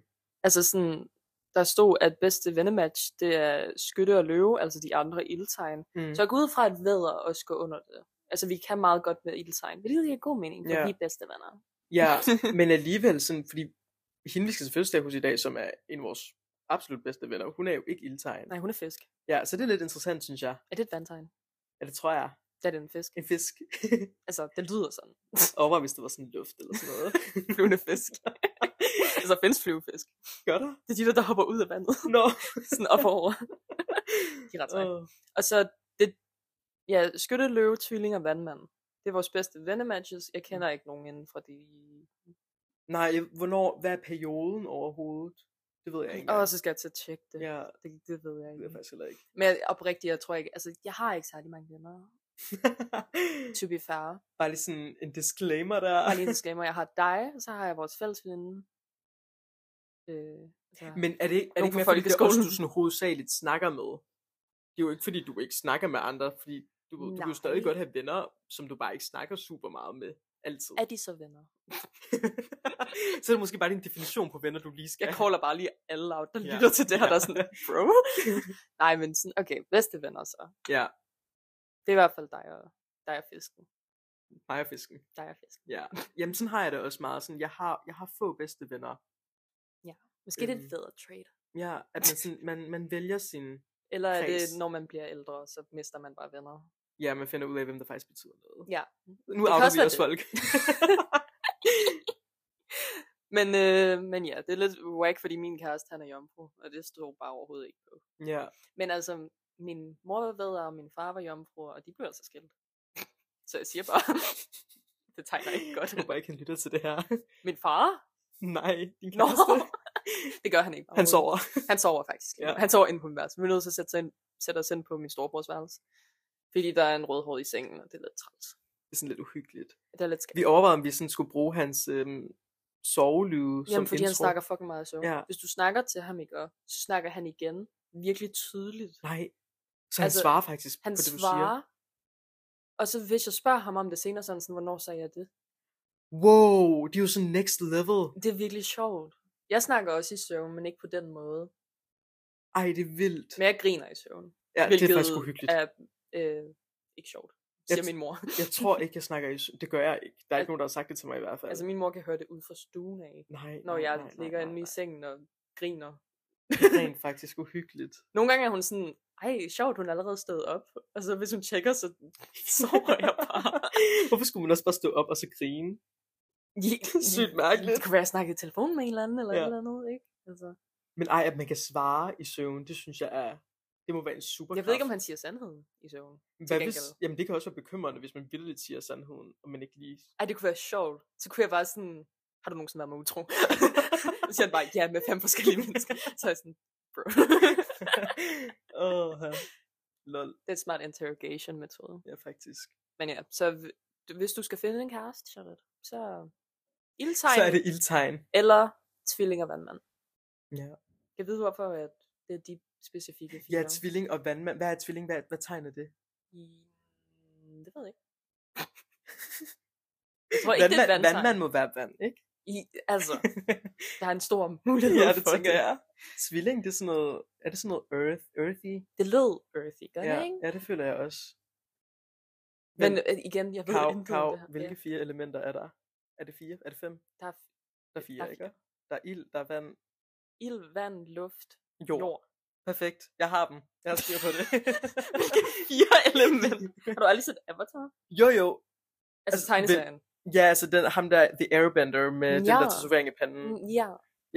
S1: Altså sådan, der stod, at bedste vennematch, det er skytte og løve, altså de andre ildtegn.
S2: Mm.
S1: Så jeg går ud fra, at vædder også går under det. Altså, vi kan meget godt med ildtegn. Hvilket giver god mening, for
S2: Ja.
S1: vi er bedste venner.
S2: Ja, men alligevel sådan, fordi hende, vi skal til fødselsdag hos i dag, som er en af vores absolut bedste venner, hun er jo ikke ildtegn.
S1: Nej, hun er fisk.
S2: Ja, så det er lidt interessant, synes jeg.
S1: Er det et vandtegn?
S2: Ja, det tror jeg.
S1: Det er det en fisk.
S2: En fisk.
S1: Altså, det lyder sådan.
S2: Overvej, hvis det var sådan luft eller sådan noget.
S1: Flyvende fisk. altså, findes flyvefisk.
S2: Gør der?
S1: Det er de der, der hopper ud af vandet.
S2: Nå.
S1: sådan op og over. De er ret seje.
S2: Åh.
S1: Og så, det, ja, skytte, løve, tvilling og vandmand. Det er vores bedste vennematches. Jeg
S2: Mm.
S1: kender ikke nogen inden fra de...
S2: Nej, jeg- hvornår, hvad er perioden overhovedet? Det ved jeg ikke.
S1: Åh,
S2: engang.
S1: så skal jeg til at tjekke det. Mm.
S2: Ja,
S1: det. Det ved jeg
S2: det ved jeg
S1: ikke.
S2: faktisk heller ikke.
S1: Men jeg- oprigtigt, jeg tror ikke... Altså, jeg har ikke særlig mange venner. To be fair.
S2: Bare lige sådan en disclaimer der.
S1: Bare lige en disclaimer, jeg har dig, og så har jeg vores fælles veninde. Øh, så...
S2: Men er det,
S1: Nogen
S2: er det ikke
S1: fra
S2: mere, fordi det er også,
S1: folkeskolen.
S2: du sådan hovedsageligt snakker med? Det er jo ikke, fordi du ikke snakker med andre, fordi du, ved- du kan jo stadig
S1: Nej.
S2: godt have venner, som du bare ikke snakker super meget med. Altid.
S1: er de så venner?
S2: så er det måske bare din definition på venner, du lige skal.
S1: Jeg caller bare lige alle out, der
S2: Ja.
S1: lytter til det her,
S2: Ja.
S1: der er sådan, bro? Nej, men sådan, okay, bedste venner så.
S2: Ja,
S1: Det er i hvert fald dig og, dig og fisken.
S2: mig og fisken.
S1: Dig og fisken.
S2: Ja. Jamen, sådan har jeg det også meget. Sådan, jeg, har, jeg har få bedste venner.
S1: Måske det er
S2: Øhm.
S1: et federe trade.
S2: Ja, at man, sådan, man, man vælger sin...
S1: Eller er det,
S2: Kreds.
S1: når man bliver ældre, så mister man bare venner.
S2: Ja, man finder ud af, hvem der faktisk betyder noget.
S1: Ja.
S2: Nu
S1: kan
S2: outer
S1: også
S2: vi
S1: være
S2: også
S1: det.
S2: folk.
S1: Men, øh, men ja, det er lidt whack, fordi min kæreste, han er jomfru, og det stod bare overhovedet ikke på.
S2: ja.
S1: Men altså, min mor var vædder, og min far var jomfru, og de blev altså skilt. Så jeg siger bare, det tegner ikke godt.
S2: Jeg håber ikke, han lytter til det her.
S1: Min far?
S2: Nej, din
S1: Nå,
S2: kæreste.
S1: det gør han ikke.
S2: Han
S1: overhovedet.
S2: sover.
S1: Han sover faktisk.
S2: Ja.
S1: Ja. Han sover inde på min værelse. Vi er nødt til at sætte, sig ind, sætte os ind på min storebrors værelse. Fordi der er en rødhåret i sengen, og det er lidt træls.
S2: Det er sådan lidt uhyggeligt.
S1: Det er lidt skært.
S2: Vi overvejede, om vi sådan skulle bruge hans øhm, sovelyde som
S1: Jamen, fordi
S2: intro.
S1: han snakker fucking meget i søvn.
S2: Ja.
S1: Hvis du snakker til ham ikke, og så snakker han igen virkelig tydeligt.
S2: Nej, så han altså,
S1: Altså,
S2: svarer faktisk
S1: Han
S2: på det, du
S1: svarer,
S2: siger.
S1: og så hvis jeg spørger ham om det senere, så er han sådan, hvornår sagde jeg det?
S2: Wow, det er jo sådan next level.
S1: Det er virkelig sjovt. Jeg snakker også i søvn, men ikke på den måde.
S2: Ej, det er vildt.
S1: Men jeg griner i søvn.
S2: ja, det er faktisk uhyggeligt.
S1: Er, øh, ikke sjovt, siger
S2: t-
S1: min mor.
S2: Jeg tror ikke, jeg snakker i... s- Det gør jeg ikke. Der er ikke nogen, der har sagt det til mig i hvert fald.
S1: altså min mor kan høre det ud fra stuen af,
S2: nej,
S1: når
S2: nej,
S1: jeg
S2: nej, nej,
S1: ligger
S2: nej,
S1: inde i
S2: nej.
S1: sengen og griner.
S2: Det er rent faktisk uhyggeligt.
S1: Nogle gange er hun sådan, ej, sjovt, hun er allerede stået op. Og så hvis hun tjekker, så sover jeg bare.
S2: Hvorfor skulle man også bare stå op og så grine? Sygt mærkeligt.
S1: Det kunne være, at jeg snakkede i telefon med en eller anden, eller
S2: Ja.
S1: ja. et eller andet, ikke? Altså,
S2: Men ej, at man kan svare i søvn, det synes jeg er... Det må være en super
S1: jeg ved ikke, om han siger sandheden i søvn.
S2: Hvad
S1: gengæld.
S2: hvis, jamen det kan også være bekymrende, hvis man vildt siger sandheden, og man ikke lige...
S1: Ej, det kunne være sjovt. Så kunne jeg bare sådan, har du nogensinde været med utro? så siger han bare, ja, med fem forskellige mennesker. Så er jeg sådan, bro.
S2: Åh, oh, lol,
S1: det er en smart interrogation metode.
S2: ja faktisk.
S1: Men ja, så hv- du- hvis du skal finde en kæreste, Charlotte, så
S2: Så er
S1: ildtegn
S2: det ildtegn.
S1: eller tvilling og vandmand.
S2: Ja.
S1: Jeg ved hvorfor, at det er de specifikke fire.
S2: Ja, tvilling og vandmand. Hvad er tvilling? Hvad, hvad tegner det?
S1: I- mm, Det ved jeg ikke. Jeg tror ikke, det er
S2: vandmand,
S1: vandtegn.
S2: vandmand må være vand, ikke?
S1: I, altså, der er en stor mulighed
S2: ja, det
S1: for
S2: tænker
S1: det.
S2: jeg. Tvilling, det er sådan noget, er det sådan noget earth, earthy?
S1: Det lød earthy, gør
S2: ja,
S1: det ikke?
S2: ja, det føler jeg også.
S1: Men øh, igen, jeg ved
S2: Kav,
S1: intet om
S2: kav,
S1: det her.
S2: hvilke
S1: Ja,
S2: fire elementer er der? Er det fire? Er det fem?
S1: der er
S2: Der er fire,
S1: er
S2: ikke? Der er ild, der er vand,
S1: ild, vand, luft,
S2: jord.
S1: jord.
S2: Perfekt. Jeg har dem. Jeg har styr på det.
S1: Hvilke fire elementer? Har du aldrig set Avatar?
S2: jo, jo.
S1: Altså,
S2: Altså,
S1: tegneserien.
S2: Ja, altså den, ham der, The Airbender, med ja. den
S1: Ja.
S2: der tatovering i panden.
S1: Mm, Ja.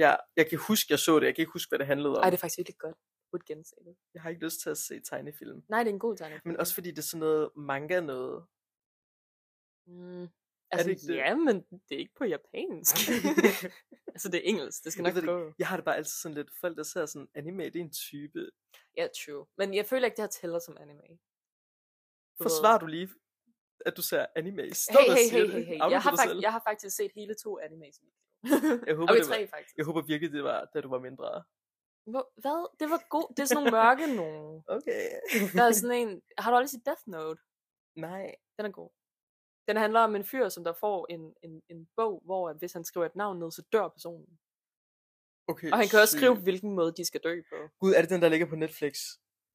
S2: Ja, jeg kan huske, jeg så det. Jeg kan ikke huske, hvad det handlede om.
S1: Ej, det er faktisk virkelig godt. Would gense det.
S2: Jeg har ikke lyst til at se tegnefilm.
S1: Nej, det er en god tegnefilm.
S2: Men også fordi det er sådan noget manga noget.
S1: Mm, altså,
S2: ikke det?
S1: ja, men det er ikke på japansk. altså, det er engelsk. Det skal
S2: Jeg
S1: nok
S2: ved det
S1: gå.
S2: Jeg har det bare altid sådan lidt, folk der ser sådan, anime, det er en type.
S1: Ja, true. Men jeg føler ikke, det her tæller som anime. Du ved-
S2: Forsvar du lige, at du ser anime? Stop
S1: Hey,
S2: og
S1: hey,
S2: sig
S1: hey,
S2: det.
S1: hey, hey. Jeg
S2: Aflyser
S1: har,
S2: dig
S1: fakt-
S2: selv.
S1: jeg har faktisk set hele to animes. i mit liv.
S2: Jeg håber,
S1: Okay,
S2: det var-
S1: tre faktisk.
S2: Jeg håber virkelig, det var, da du var mindre.
S1: Hvor- Hvad? Det var god. Det er sådan nogle mørke nogen.
S2: Okay.
S1: Der er sådan en... Har du aldrig set Death Note?
S2: Nej.
S1: Den er god. Den handler om en fyr, som der får en, en, en bog, hvor at hvis han skriver et navn ned, så dør personen.
S2: Okay,
S1: Og han kan også
S2: sygt.
S1: skrive, hvilken måde de skal dø på.
S2: Gud, er det den, der ligger på Netflix?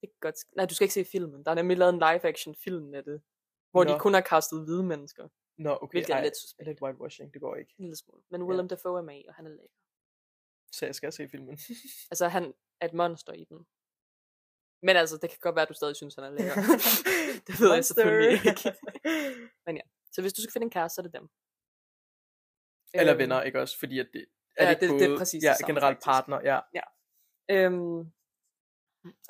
S1: Det kan godt... sk- Nej, du skal ikke se filmen. Der er nemlig lavet en live-action film af det. Hvor Nå. de
S2: Nå.
S1: kun har kastet hvide mennesker.
S2: Nå, okay.
S1: Hvilket er
S2: ej,
S1: lidt
S2: det er
S1: suspekt.
S2: lidt whitewashing, det går ikke.
S1: En lille smule. Men Willem Dafoe er med i, og han er lækker.
S2: Så jeg skal se filmen.
S1: Altså, han er et monster i den. Men altså, det kan godt være, at du stadig synes, han er lækker. det ved jeg
S2: Monster.
S1: selvfølgelig ikke. Så hvis du skal finde en kæreste, så er det dem.
S2: Eller
S1: Øhm,
S2: venner, ikke også? Fordi at det, er
S1: ja,
S2: ikke
S1: det- det er
S2: både-
S1: præcis
S2: ja,
S1: det samme,
S2: generelt
S1: faktisk.
S2: partner, ja.
S1: Øhm,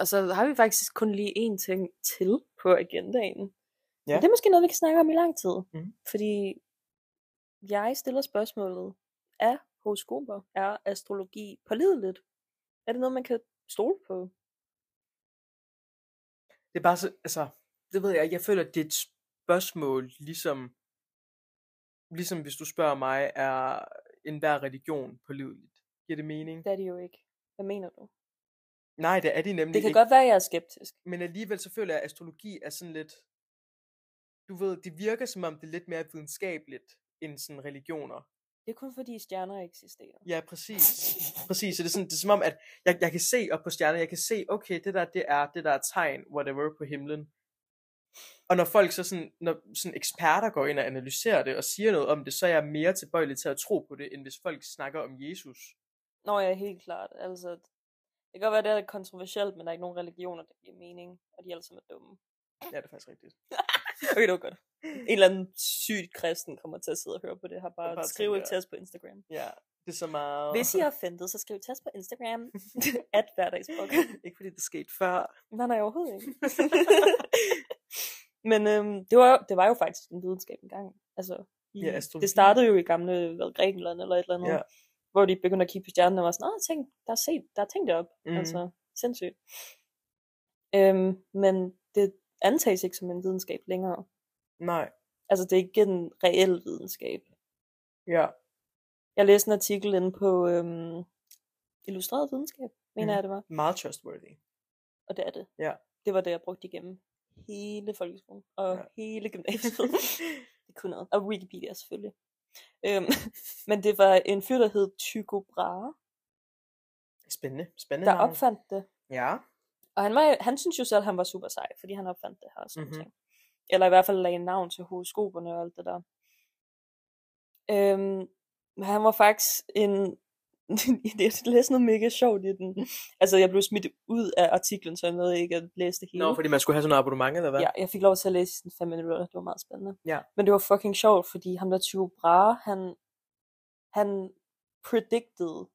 S1: og så har vi faktisk kun lige én ting til på agendaen. Ja.
S2: Ja.
S1: Men det er måske noget, vi kan snakke om i lang tid.
S2: Mhm.
S1: Fordi jeg stiller spørgsmålet, er horoskoper, er astrologi pålideligt? Er det noget, man kan stole på?
S2: Mm. Det er bare så, altså, det ved jeg, ikke, jeg føler, det er et spørgsmål, ligesom, ligesom hvis du spørger mig, er enhver religion pålideligt? Giver det mening?
S1: Det er det jo ikke. Hvad mener du?
S2: Nej, det er de nemlig
S1: Det kan
S2: ikke.
S1: godt være, at jeg er skeptisk.
S2: Men alligevel så føler jeg, at astrologi er sådan lidt, du ved, det virker som om det er lidt mere videnskabeligt, end sådan religioner.
S1: Det er kun fordi stjerner eksisterer.
S2: Ja, præcis. Præcis, så det er, sådan, det er som om, at jeg, jeg kan se op på stjerner, jeg kan se, okay, det der, det er, det der er tegn, whatever, på himlen. Og når folk så sådan, når sådan eksperter går ind og analyserer det og siger noget om det, så er jeg mere tilbøjelig til at tro på det, end hvis folk snakker om Jesus.
S1: Nå ja, helt klart. Altså, det kan godt være, at det er kontroversielt, men der er ikke nogen religioner, der giver mening, og de alle sammen er dumme.
S2: Ja, det er faktisk rigtigt.
S1: Okay, det var godt. En eller anden sygt kristen kommer til at sidde og høre på det her. Bare,
S2: bare
S1: bare skriv ikke
S2: tænker-
S1: til os på Instagram.
S2: Ja, det er så meget...
S1: Hvis I er offentet, så skriv til os på Instagram. at hverdagsbrok.
S2: Ikke fordi det skete før.
S1: Nej, nej, overhovedet ikke. Men øhm, det, var, jo- det var jo faktisk en videnskab engang. Altså, i,
S2: Ja, astrologi.
S1: det startede jo i gamle hvad, Grækenland eller et eller andet.
S2: Ja.
S1: Hvor de begyndte at kigge på stjernerne og var sådan, "Åh, tænk, der er, set, der er tænkt op.
S2: Mm.
S1: Mm. Altså, sindssygt. Øhm, men det antages ikke som en videnskab længere.
S2: Nej,
S1: Altså, det er ikke en reel videnskab.
S2: ja.
S1: Jeg læste en artikel inde på øhm, Illustreret Videnskab, mener
S2: Mhm.
S1: jeg, det var.
S2: Meget trustworthy.
S1: Og det er det.
S2: Ja.
S1: Det var det, jeg brugte igennem hele folkeskolen og
S2: Ja.
S1: ja. hele gymnasiet. det kunne noget. Og Wikipedia selvfølgelig. Øhm, men det var en fyr, der hed Tycho Brahe,
S2: Spændende. Spændende.
S1: der
S2: navn.
S1: opfandt det.
S2: Ja.
S1: Og han, var, han synes jo selv, at han var super sej, fordi han opfandt det her og sådan
S2: Mhm.
S1: mm-hmm. ting. Eller i hvert fald lagde navn til horoskoperne og alt det der. Øhm, men han var faktisk en... jeg læste noget mega sjovt i den. Altså, jeg blev smidt ud af artiklen, så jeg nåede ikke at læse det hele.
S2: Nå, fordi man skulle have sådan noget abonnement, eller hvad?
S1: Ja, jeg fik lov til at læse i sådan fem minutter, det var meget spændende.
S2: Ja.
S1: Men det var fucking sjovt, fordi ham der Tycho Brahe, han, han predicted,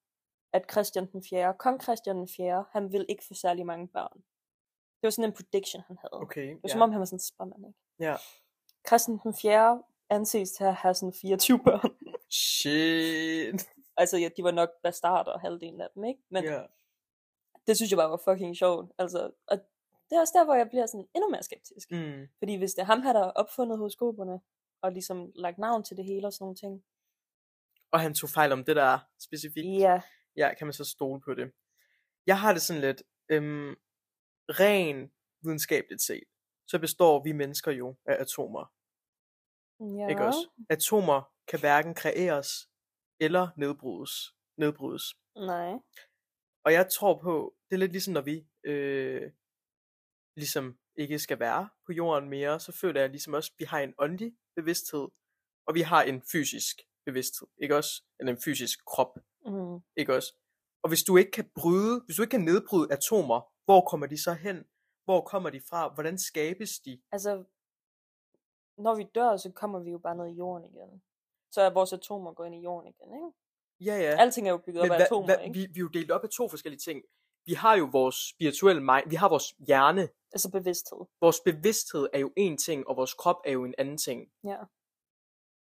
S1: at Christian den 4., kong Christian den 4., han ville ikke få særlig mange børn. Det var sådan en prediction, han havde.
S2: Okay.
S1: Det var som om, han var sådan en spåmand, ikke?
S2: Ja.
S1: Christian den 4. anses til at have sådan 24 børn.
S2: Shit.
S1: altså, ja, de var nok bastarder, halvdelen af dem, ikke? Men
S2: Ja.
S1: det synes jeg bare var fucking sjovt. Altså, og det er også der, hvor jeg bliver sådan endnu mere skeptisk.
S2: Mm.
S1: Fordi hvis det er ham her, der har opfundet horoskoperne, og ligesom lagt navn til det hele og sådan nogle ting.
S2: Og han tog fejl om det der specifikt.
S1: Ja,
S2: Ja, kan man så stole på det? jeg har det sådan lidt, øhm, ren videnskabeligt set, så består vi mennesker jo af atomer,
S1: Ja.
S2: ikke også? Atomer kan hverken kreeres eller nedbrydes. nedbrydes.
S1: Nej.
S2: Og jeg tror på, det er lidt ligesom når vi øh, ligesom ikke skal være på jorden mere, så føler jeg ligesom også, at vi har en åndelig bevidsthed, og vi har en fysisk bevidsthed, ikke også? Eller en fysisk krop,
S1: Mm.
S2: ikke også? Og hvis du ikke kan bryde, hvis du ikke kan nedbryde atomer, hvor kommer de så hen? Hvor kommer de fra? Hvordan skabes de?
S1: Altså, når vi dør, så kommer vi jo bare ned i jorden igen. Så er vores atomer gået ind i jorden igen, ikke?
S2: Ja, ja.
S1: Alting er jo bygget op af atomer, ikke?
S2: vi, vi er jo delt op af to forskellige ting. Vi har jo vores spirituelle mind, vi har vores hjerne,
S1: Altså bevidsthed.
S2: vores bevidsthed er jo en ting, og vores krop er jo en anden ting.
S1: Ja.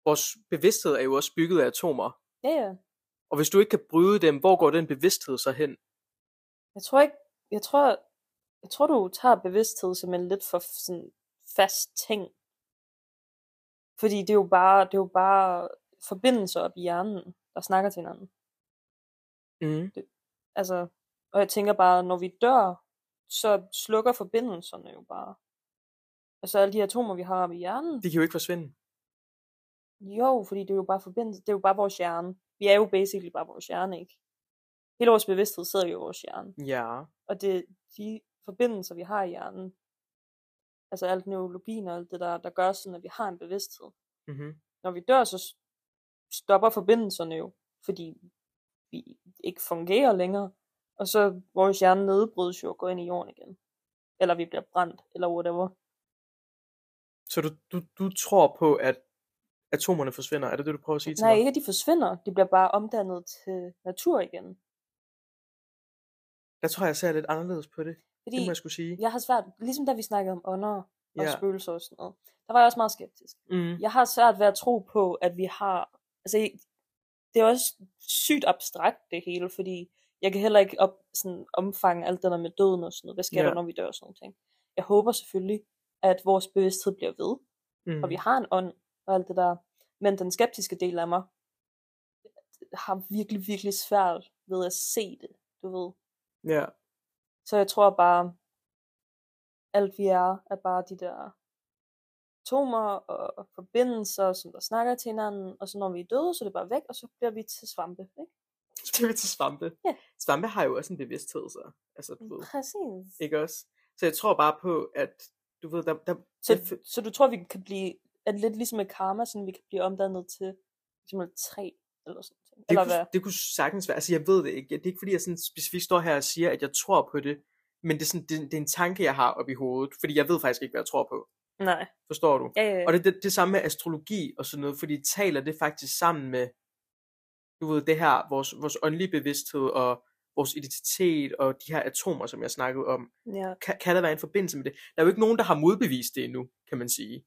S2: Vores bevidsthed er jo også bygget af atomer.
S1: Ja, ja.
S2: Og hvis du ikke kan bryde dem, hvor går den bevidsthed så hen?
S1: Jeg tror ikke, jeg tror, jeg tror du tager bevidsthed som en lidt for sådan fast ting. Fordi det er jo bare, det er jo bare forbindelser op i hjernen, der snakker til hinanden.
S2: Mm.
S1: Altså, og jeg tænker bare, når vi dør, så slukker forbindelserne jo bare. Altså alle de atomer, vi har oppe i hjernen.
S2: De kan jo ikke forsvinde.
S1: Jo, fordi det er jo bare forbindelse. Det er jo bare vores hjerne. Vi er jo basically bare vores hjerne, ikke? Hele vores bevidsthed sidder jo i vores hjerne.
S2: Ja.
S1: Og det er de forbindelser, vi har i hjernen. Altså alt neurologien og alt det der, der gør sådan, at vi har en bevidsthed.
S2: Mm-hmm.
S1: Når vi dør, så s- stopper forbindelserne jo, fordi vi ikke fungerer længere. Og så vores hjerne nedbrydes jo og går ind i jorden igen. Eller vi bliver brændt, eller whatever.
S2: Så du, du, du tror på, at atomerne forsvinder? Er det det, du prøver at sige til
S1: Nej,
S2: mig?
S1: ikke at de forsvinder. De bliver bare omdannet til natur igen.
S2: Der tror jeg, jeg ser lidt anderledes på det.
S1: Fordi
S2: Det må jeg skulle sige.
S1: jeg har svært, ligesom da vi snakkede om ånder og
S2: Ja.
S1: ja. spøgelser og sådan noget, der var jeg også meget skeptisk.
S2: Mm.
S1: Jeg har svært ved at tro på, at vi har, altså det er også sygt abstrakt det hele, fordi jeg kan heller ikke op, sådan, omfange alt det der med døden og sådan noget. Hvad sker
S2: Ja.
S1: ja. der, når vi dør og sådan noget ting. Jeg håber selvfølgelig, at vores bevidsthed bliver ved,
S2: Mm.
S1: og vi har en ånd og alt det der. Men den skeptiske del af mig har virkelig, virkelig svært ved at se det, du ved.
S2: Ja.
S1: Så jeg tror bare, alt vi er, er bare de der atomer og forbindelser, som der snakker til hinanden, og så når vi er døde, så er det bare væk, og så bliver vi til svampe, ikke?
S2: Det var til svampe.
S1: Ja. Mm.
S2: Svampe har jo også en bevidsthed, så. Altså, du ved.
S1: Præcis.
S2: Ikke også? Så jeg tror bare på, at du ved, der, der, jeg
S1: Så,
S2: fø-
S1: så du tror, vi kan blive, at lidt ligesom med karma, sådan vi kan blive omdannet til simpelthen træ, eller sådan noget.
S2: det,
S1: Eller
S2: kunne,
S1: hvad?
S2: det kunne sagtens være, altså jeg ved det ikke, det er ikke fordi jeg sådan specifikt står her og siger, at jeg tror på det, men det er, sådan, det, det er en tanke, jeg har op i hovedet, fordi jeg ved faktisk ikke, hvad jeg tror på,
S1: Nej.
S2: forstår du?
S1: Ja, ja, ja.
S2: Og det er det, det samme med astrologi og sådan noget, fordi taler det faktisk sammen med, du ved, det her, vores, vores åndelige bevidsthed og vores identitet og de her atomer, som jeg snakkede om,
S1: ja.
S2: kan, kan der være en forbindelse med det? Der er jo ikke nogen, der har modbevist det endnu, kan man sige.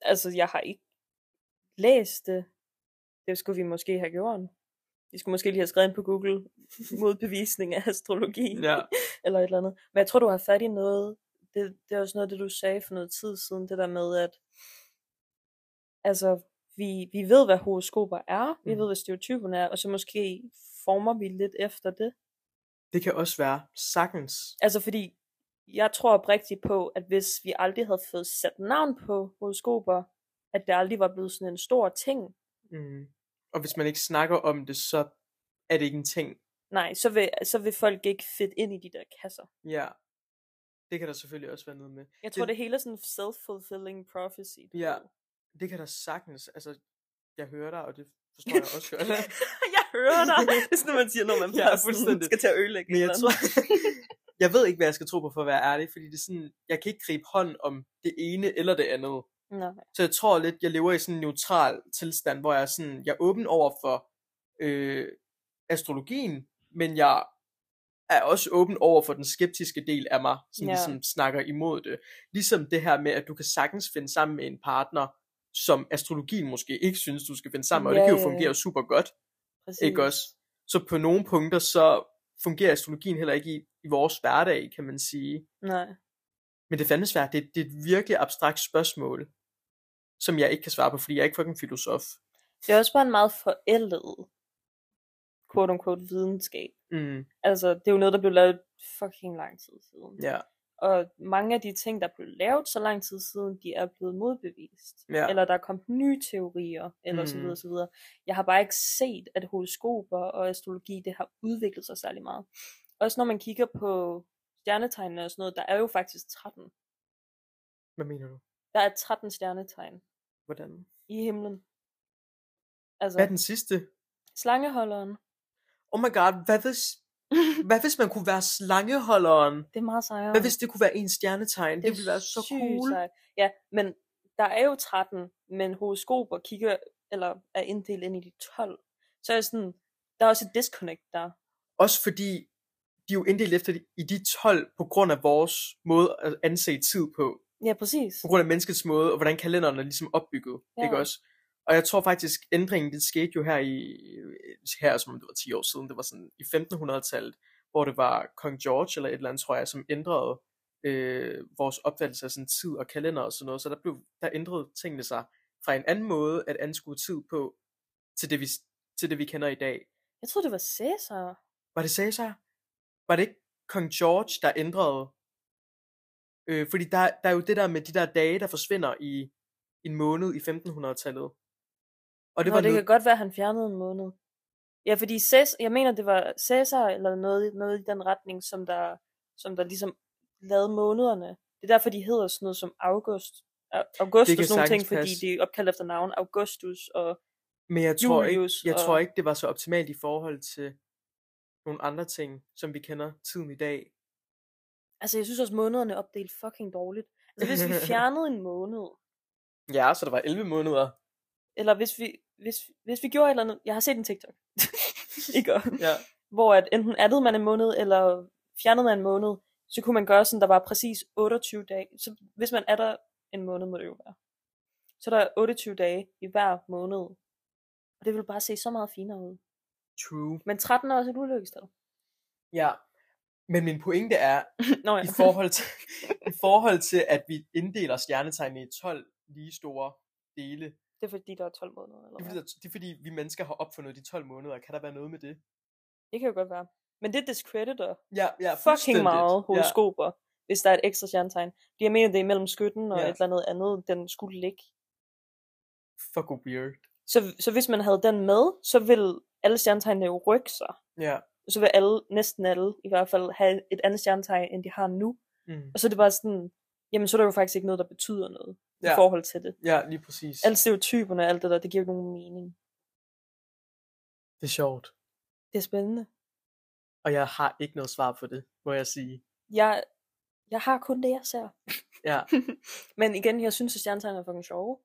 S1: Altså, jeg har ikke læst det. Det skulle vi måske have gjort. Vi skulle måske lige have skrevet ind på Google modbevisning af astrologi.
S2: Ja.
S1: eller et eller andet. Men jeg tror, du har fat i noget. Det, det er også noget af det, du sagde for noget tid siden, det der med, at altså, vi, vi ved, hvad horoskoper er, vi
S2: Mhm.
S1: ved, hvad stereotyperne er, og så måske former vi lidt efter det.
S2: Det kan også være sagtens.
S1: Altså fordi, jeg tror oprigtigt på, at hvis vi aldrig havde fået sat navn på horoskoper, at det aldrig var blevet sådan en stor ting.
S2: Mm. Og hvis man ikke snakker om det, så er det ikke en ting.
S1: Nej, så vil, så vil folk ikke fit ind i de der kasser.
S2: Ja. Det kan der selvfølgelig også være noget med.
S1: Jeg tror,
S2: Det-
S1: det, det hele er sådan self-fulfilling prophecy. du
S2: Ja.
S1: ved.
S2: Det kan der sagtens. Altså, jeg hører dig, og det forstår jeg også godt.
S1: jeg hører dig. Det er sådan, man siger, når man
S2: Ja,
S1: ja, sådan,
S2: fuldstændig.
S1: skal til at ødelægge
S2: Men
S1: et
S2: jeg
S1: eller
S2: tror...
S1: andet.
S2: jeg ved ikke, hvad jeg skal tro på, for at være ærlig, fordi det er sådan, jeg kan ikke gribe hånd om det ene eller det andet.
S1: Nej.
S2: Så jeg tror lidt, jeg lever i sådan en neutral tilstand, hvor jeg er sådan, jeg er åben over for øh, astrologien, men jeg er også åben over for den skeptiske del af mig, som
S1: Ja.
S2: yeah. ligesom snakker imod det. Ligesom det her med, at du kan sagtens finde sammen med en partner, som astrologien måske ikke synes, du skal finde sammen med, og
S1: Ja,
S2: det kan
S1: ja,
S2: jo
S1: ja.
S2: fungere super godt,
S1: Præcis.
S2: ikke også? Så på nogle punkter, så fungerer astrologien heller ikke i, i vores hverdag, kan man sige.
S1: Nej.
S2: Men det er fandme svært. Det, det er et virkelig abstrakt spørgsmål, som jeg ikke kan svare på, fordi jeg er ikke fucking filosof.
S1: Det er også bare en meget forældet quote unquote videnskab.
S2: Mm,
S1: Altså, det er jo noget, der blev lavet fucking lang tid siden.
S2: ja,
S1: Og mange af de ting, der blev lavet så lang tid siden, de er blevet modbevist.
S2: ja.
S1: Eller der er kommet nye teorier, eller så
S2: Mhm.
S1: videre, så videre. Jeg har bare ikke set, at horoskoper og astrologi, det har udviklet sig særlig meget. Også når man kigger på stjernetegnene og sådan noget, der er jo faktisk 13.
S2: Hvad mener du?
S1: Der er 13 stjernetegn
S2: Hvordan?
S1: i himlen. Altså,
S2: Hvad er den sidste?
S1: slangeholderen.
S2: Oh my god, hvad hvis, hvad hvis man kunne være slangeholderen?
S1: det er meget sejere.
S2: Hvad hvis det kunne være en stjernetegn? Det,
S1: er
S2: det ville være så
S1: sygt
S2: cool.
S1: sejt. Ja, men der er jo 13, men horoskoper kigger, eller er inddelt ind i de 12. Så er jeg sådan, der er også et disconnect der.
S2: Også fordi de er jo inddelt efter de- i de 12 på grund af vores måde at anse tid på.
S1: Ja, præcis.
S2: På grund af menneskets måde, og hvordan kalenderen er ligesom opbygget. Ja. Ikke
S1: Ja.
S2: også? Og jeg tror faktisk, ændringen det skete jo her i, her som om det var 10 år siden, det var sådan i 1500-tallet, hvor det var kong George eller et eller andet, tror jeg, som ændrede øh, vores opfattelse af sådan tid og kalender og sådan noget. Så der, blev, der ændrede tingene sig fra en anden måde at anskue tid på, til det vi, til det, vi kender i dag.
S1: Jeg tror det var Cæsar.
S2: Var det Cæsar? Var det ikke kong George, der ændrede? Øh, fordi der, der er jo det der med de der dage, der forsvinder i en måned i 1500-tallet. Og
S1: Det,
S2: det Nå, var
S1: Nå, det
S2: noget,
S1: kan godt være, at han fjernede en måned. Ja, fordi Cæsar, jeg mener, det var Cæsar eller noget, noget i den retning, som der, som der ligesom lavede månederne. Det er derfor, de hedder sådan noget som August. Au- Augustus
S2: kan
S1: sådan nogle ting,
S2: sagtens
S1: fordi
S2: passe.
S1: de er opkaldt efter navn Augustus og
S2: men jeg tror, ikke,
S1: Julius
S2: jeg
S1: og-
S2: tror ikke, det var så optimalt i forhold til nogle andre ting, som vi kender tiden i dag.
S1: Altså, jeg synes også, månederne er opdelt fucking dårligt. Altså, hvis vi fjernede en måned,
S2: Ja, så der var 11 måneder.
S1: eller hvis vi, hvis, hvis vi gjorde et eller andet... Jeg har set en TikTok. Ikke?
S2: Ja.
S1: Hvor at enten addede man en måned, eller fjernede man en måned, så kunne man gøre sådan, der var præcis 28 dage. Så hvis man adder en måned, må det jo være. Så der er 28 dage i hver måned. Og det vil bare se så meget finere ud.
S2: True.
S1: Men 13 er også et ulykkestal.
S2: Ja. Men min pointe er,
S1: Nå ja.
S2: i forhold til, i forhold til at vi inddeler stjernetegnene i 12 lige store dele,
S1: Det er fordi, der er 12 måneder. Eller
S2: Det er,
S1: hvad?
S2: fordi, der- det er fordi, vi mennesker har opfundet de 12 måneder. Kan der være noget med det?
S1: Det kan jo godt være. Men det discrediter
S2: Ja, ja,
S1: fucking meget
S2: Ja,
S1: horoskoper, ja. hvis der er et ekstra stjernetegn. Fordi jeg mener, det er mellem skytten og
S2: Ja.
S1: ja. et eller andet andet, den skulle ligge.
S2: fuck weird.
S1: Så, så hvis man havde den med, så ville alle stjernetegnene jo rykke sig.
S2: Ja.
S1: Så vil alle, næsten alle i hvert fald, have et andet stjernetegn, end de har nu.
S2: Mm.
S1: Og så er det bare sådan, jamen så er der jo faktisk ikke noget, der betyder noget ja.
S2: Ja.
S1: i forhold til det.
S2: ja, lige præcis.
S1: Alle stereotyperne og alt det der, det giver jo ikke nogen mening.
S2: Det er sjovt.
S1: Det er spændende.
S2: Og jeg har ikke noget svar på det, må jeg sige.
S1: Jeg, jeg har kun det, jeg ser.
S2: Ja,
S1: Men igen, jeg synes, at stjernetegn er fucking sjove.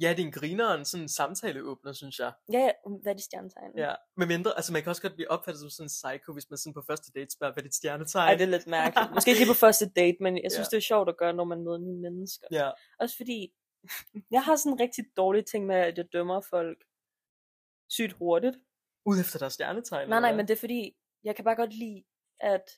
S2: ja det er en grineren sådan en samtaleåbner, synes jeg.
S1: Ja, ja, hvad er de stjernetegn?
S2: Ja. Med mindre, altså man kan også godt blive opfattet som sådan en psycho, hvis man sådan på første date spørger, hvad er dit stjernetegn?
S1: Ej, det er lidt mærkeligt. Måske ikke lige på første date, men jeg synes, det
S2: Ja.
S1: er sjovt at gøre, når man møder nye mennesker.
S2: Ja,
S1: Også fordi, jeg har sådan en rigtig dårlig ting med, at jeg dømmer folk sygt hurtigt.
S2: ud efter deres stjernetegn.
S1: Nej,
S2: eller
S1: nej,
S2: hvad?
S1: men det er fordi, jeg kan bare godt lide, at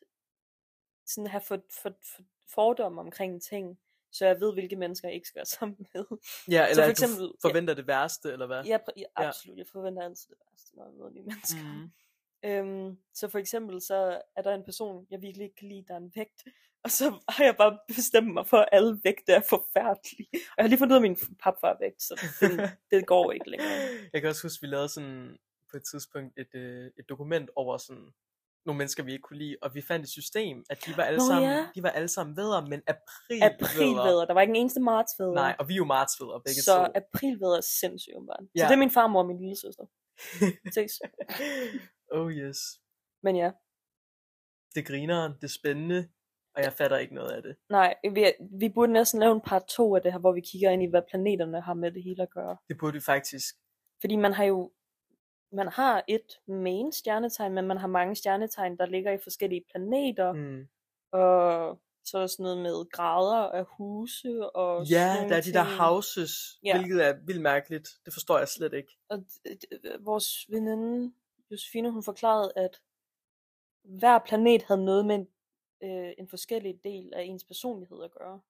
S1: sådan have for, for, for fordomme omkring ting, så jeg ved, hvilke mennesker jeg ikke skal være sammen med.
S2: Ja, eller
S1: for
S2: at du
S1: eksempel-
S2: f- forventer det værste, eller hvad?
S1: Jeg, pr- jeg, absolut, jeg forventer altid det værste, når jeg møder nye mennesker.
S2: Mm.
S1: Øhm, så for eksempel, så er der en person, jeg virkelig ikke kan lide, der er en vægt. Og så har jeg bare bestemt mig for, at alle vægte er forfærdelige. Og jeg har lige fundet ud af at min papfar er vægt, så det, det går ikke længere.
S2: Jeg kan også huske, vi lavede sådan på et tidspunkt et, øh, et dokument over sådan nogle mennesker, vi ikke kunne lide, og vi fandt et system, at de var alle,
S1: Nå,
S2: sammen,
S1: ja.
S2: de var alle sammen vædder, men april
S1: Aprilvædder. Der var ikke en eneste martsvædder.
S2: Nej, og vi er jo martsvædder begge
S1: så
S2: to.
S1: aprilvædder er sindssygt åbenbart. Ja.
S2: Ja.
S1: Så det er min farmor og min lille søster. Ses.
S2: oh yes.
S1: Men ja,
S2: Det griner, det er spændende, og jeg fatter ikke noget af det.
S1: nej, vi, vi burde næsten lave en part 2 af det her, hvor vi kigger ind i, hvad planeterne har med det hele at gøre.
S2: Det burde vi faktisk.
S1: Fordi man har jo man har et main stjernetegn, men man har mange stjernetegn, der ligger i forskellige planeter, mm.
S2: Mm.
S1: og så er der sådan noget med grader af huse, og
S2: Ja,
S1: sådan
S2: der er de der
S1: ting.
S2: houses,
S1: Ja.
S2: hvilket er vildt mærkeligt. Det forstår jeg slet ikke.
S1: Og d- d- vores veninde, Josefine, hun forklarede, at hver planet havde noget med en, øh, en forskellig del af ens personlighed at gøre.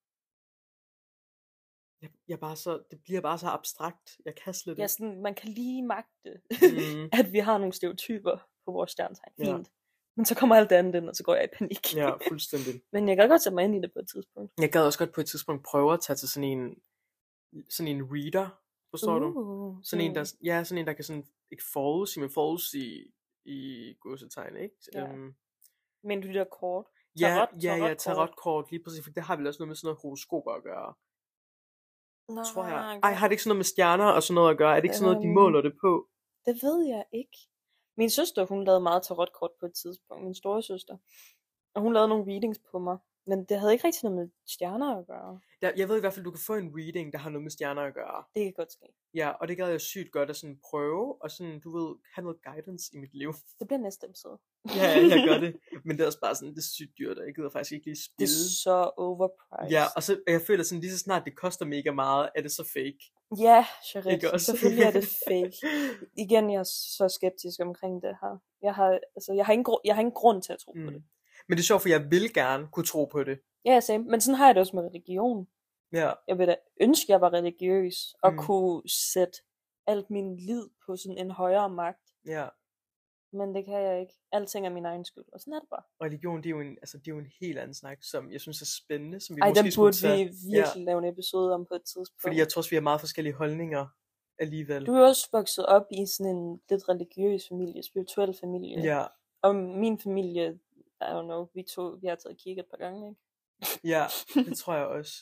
S2: jeg, jeg er bare så, det bliver bare så abstrakt. Jeg kan slet
S1: Ja,
S2: ikke.
S1: sådan, man kan lige magte,
S2: Mm,
S1: at vi har nogle stereotyper på vores stjernetegn.
S2: Ja.
S1: Fint. Men så kommer alt det andet ind, og så går jeg i panik.
S2: ja, fuldstændig.
S1: Men jeg kan godt sætte mig ind i det på et tidspunkt.
S2: Jeg gad også godt på et tidspunkt prøve at tage til sådan en, sådan en reader, forstår du?
S1: Uh,
S2: Sådan en, der, ja, sådan en, der kan sådan, ikke forudse, men forudse i godsetegn, ikke?
S1: Ja.
S2: Øhm,
S1: Men du de der kort?
S2: ja,
S1: Tarot-
S2: ja, ja,
S1: tarotkort.
S2: tarotkort, lige præcis, for det har vel også noget med sådan noget horoskoper at gøre,
S1: Nej,
S2: tror jeg. Ej, har det ikke sådan noget med stjerner og sådan noget at gøre? Er det ikke sådan noget, de
S1: Ah, Øhm.
S2: måler det på?
S1: Det ved jeg ikke. Min søster, hun lavede meget tarotkort på et tidspunkt, min store søster. Og hun lavede nogle readings på mig. Men det havde ikke rigtig noget med stjerner at gøre.
S2: Jeg, jeg ved i hvert fald, du kan få en reading, der har noget med stjerner at gøre.
S1: Det kan godt ske.
S2: Ja, og det gad jeg sygt godt at sådan prøve, og sådan, du ved, have noget guidance i mit liv.
S1: Det bliver næste episode.
S2: ja, jeg gør det. Men det er også bare sådan, det er sygt dyrt, og jeg gider faktisk ikke lige
S1: Det
S2: spille.
S1: er så overpriced.
S2: Ja, og så, og jeg føler sådan, lige så snart det koster mega meget, er det så fake.
S1: Ja, Charit,
S2: Ikke også?
S1: selvfølgelig er det fake. Igen, jeg er så skeptisk omkring det her. Jeg har, altså, jeg har, ingen, gru- jeg har ingen grund til at tro mm. på
S2: Mm.
S1: det.
S2: Men det er sjovt, for jeg vil gerne kunne tro på det.
S1: Ja, same. men sådan har jeg det også med religion.
S2: Ja,
S1: Jeg ville da ønske, jeg var religiøs, og
S2: Mm.
S1: mm. kunne sætte alt min lid på sådan en højere magt.
S2: ja.
S1: Men det kan jeg ikke. Alting er min egen skyld, og sådan er det bare.
S2: Og religion, det er, jo en, altså, det er jo en helt anden snak, som jeg synes er spændende, som vi
S1: Ej,
S2: måske
S1: den
S2: skulle
S1: burde vi
S2: tage.
S1: virkelig ja. lave en episode om på et tidspunkt.
S2: Fordi jeg tror også, vi har meget forskellige holdninger alligevel.
S1: Du er jo også vokset op i sådan en lidt religiøs familie, spirituel familie.
S2: Ja,
S1: Og min familie, I don't know, vi, to, vi har taget kirke et par gange, ikke?
S2: ja, det tror jeg også.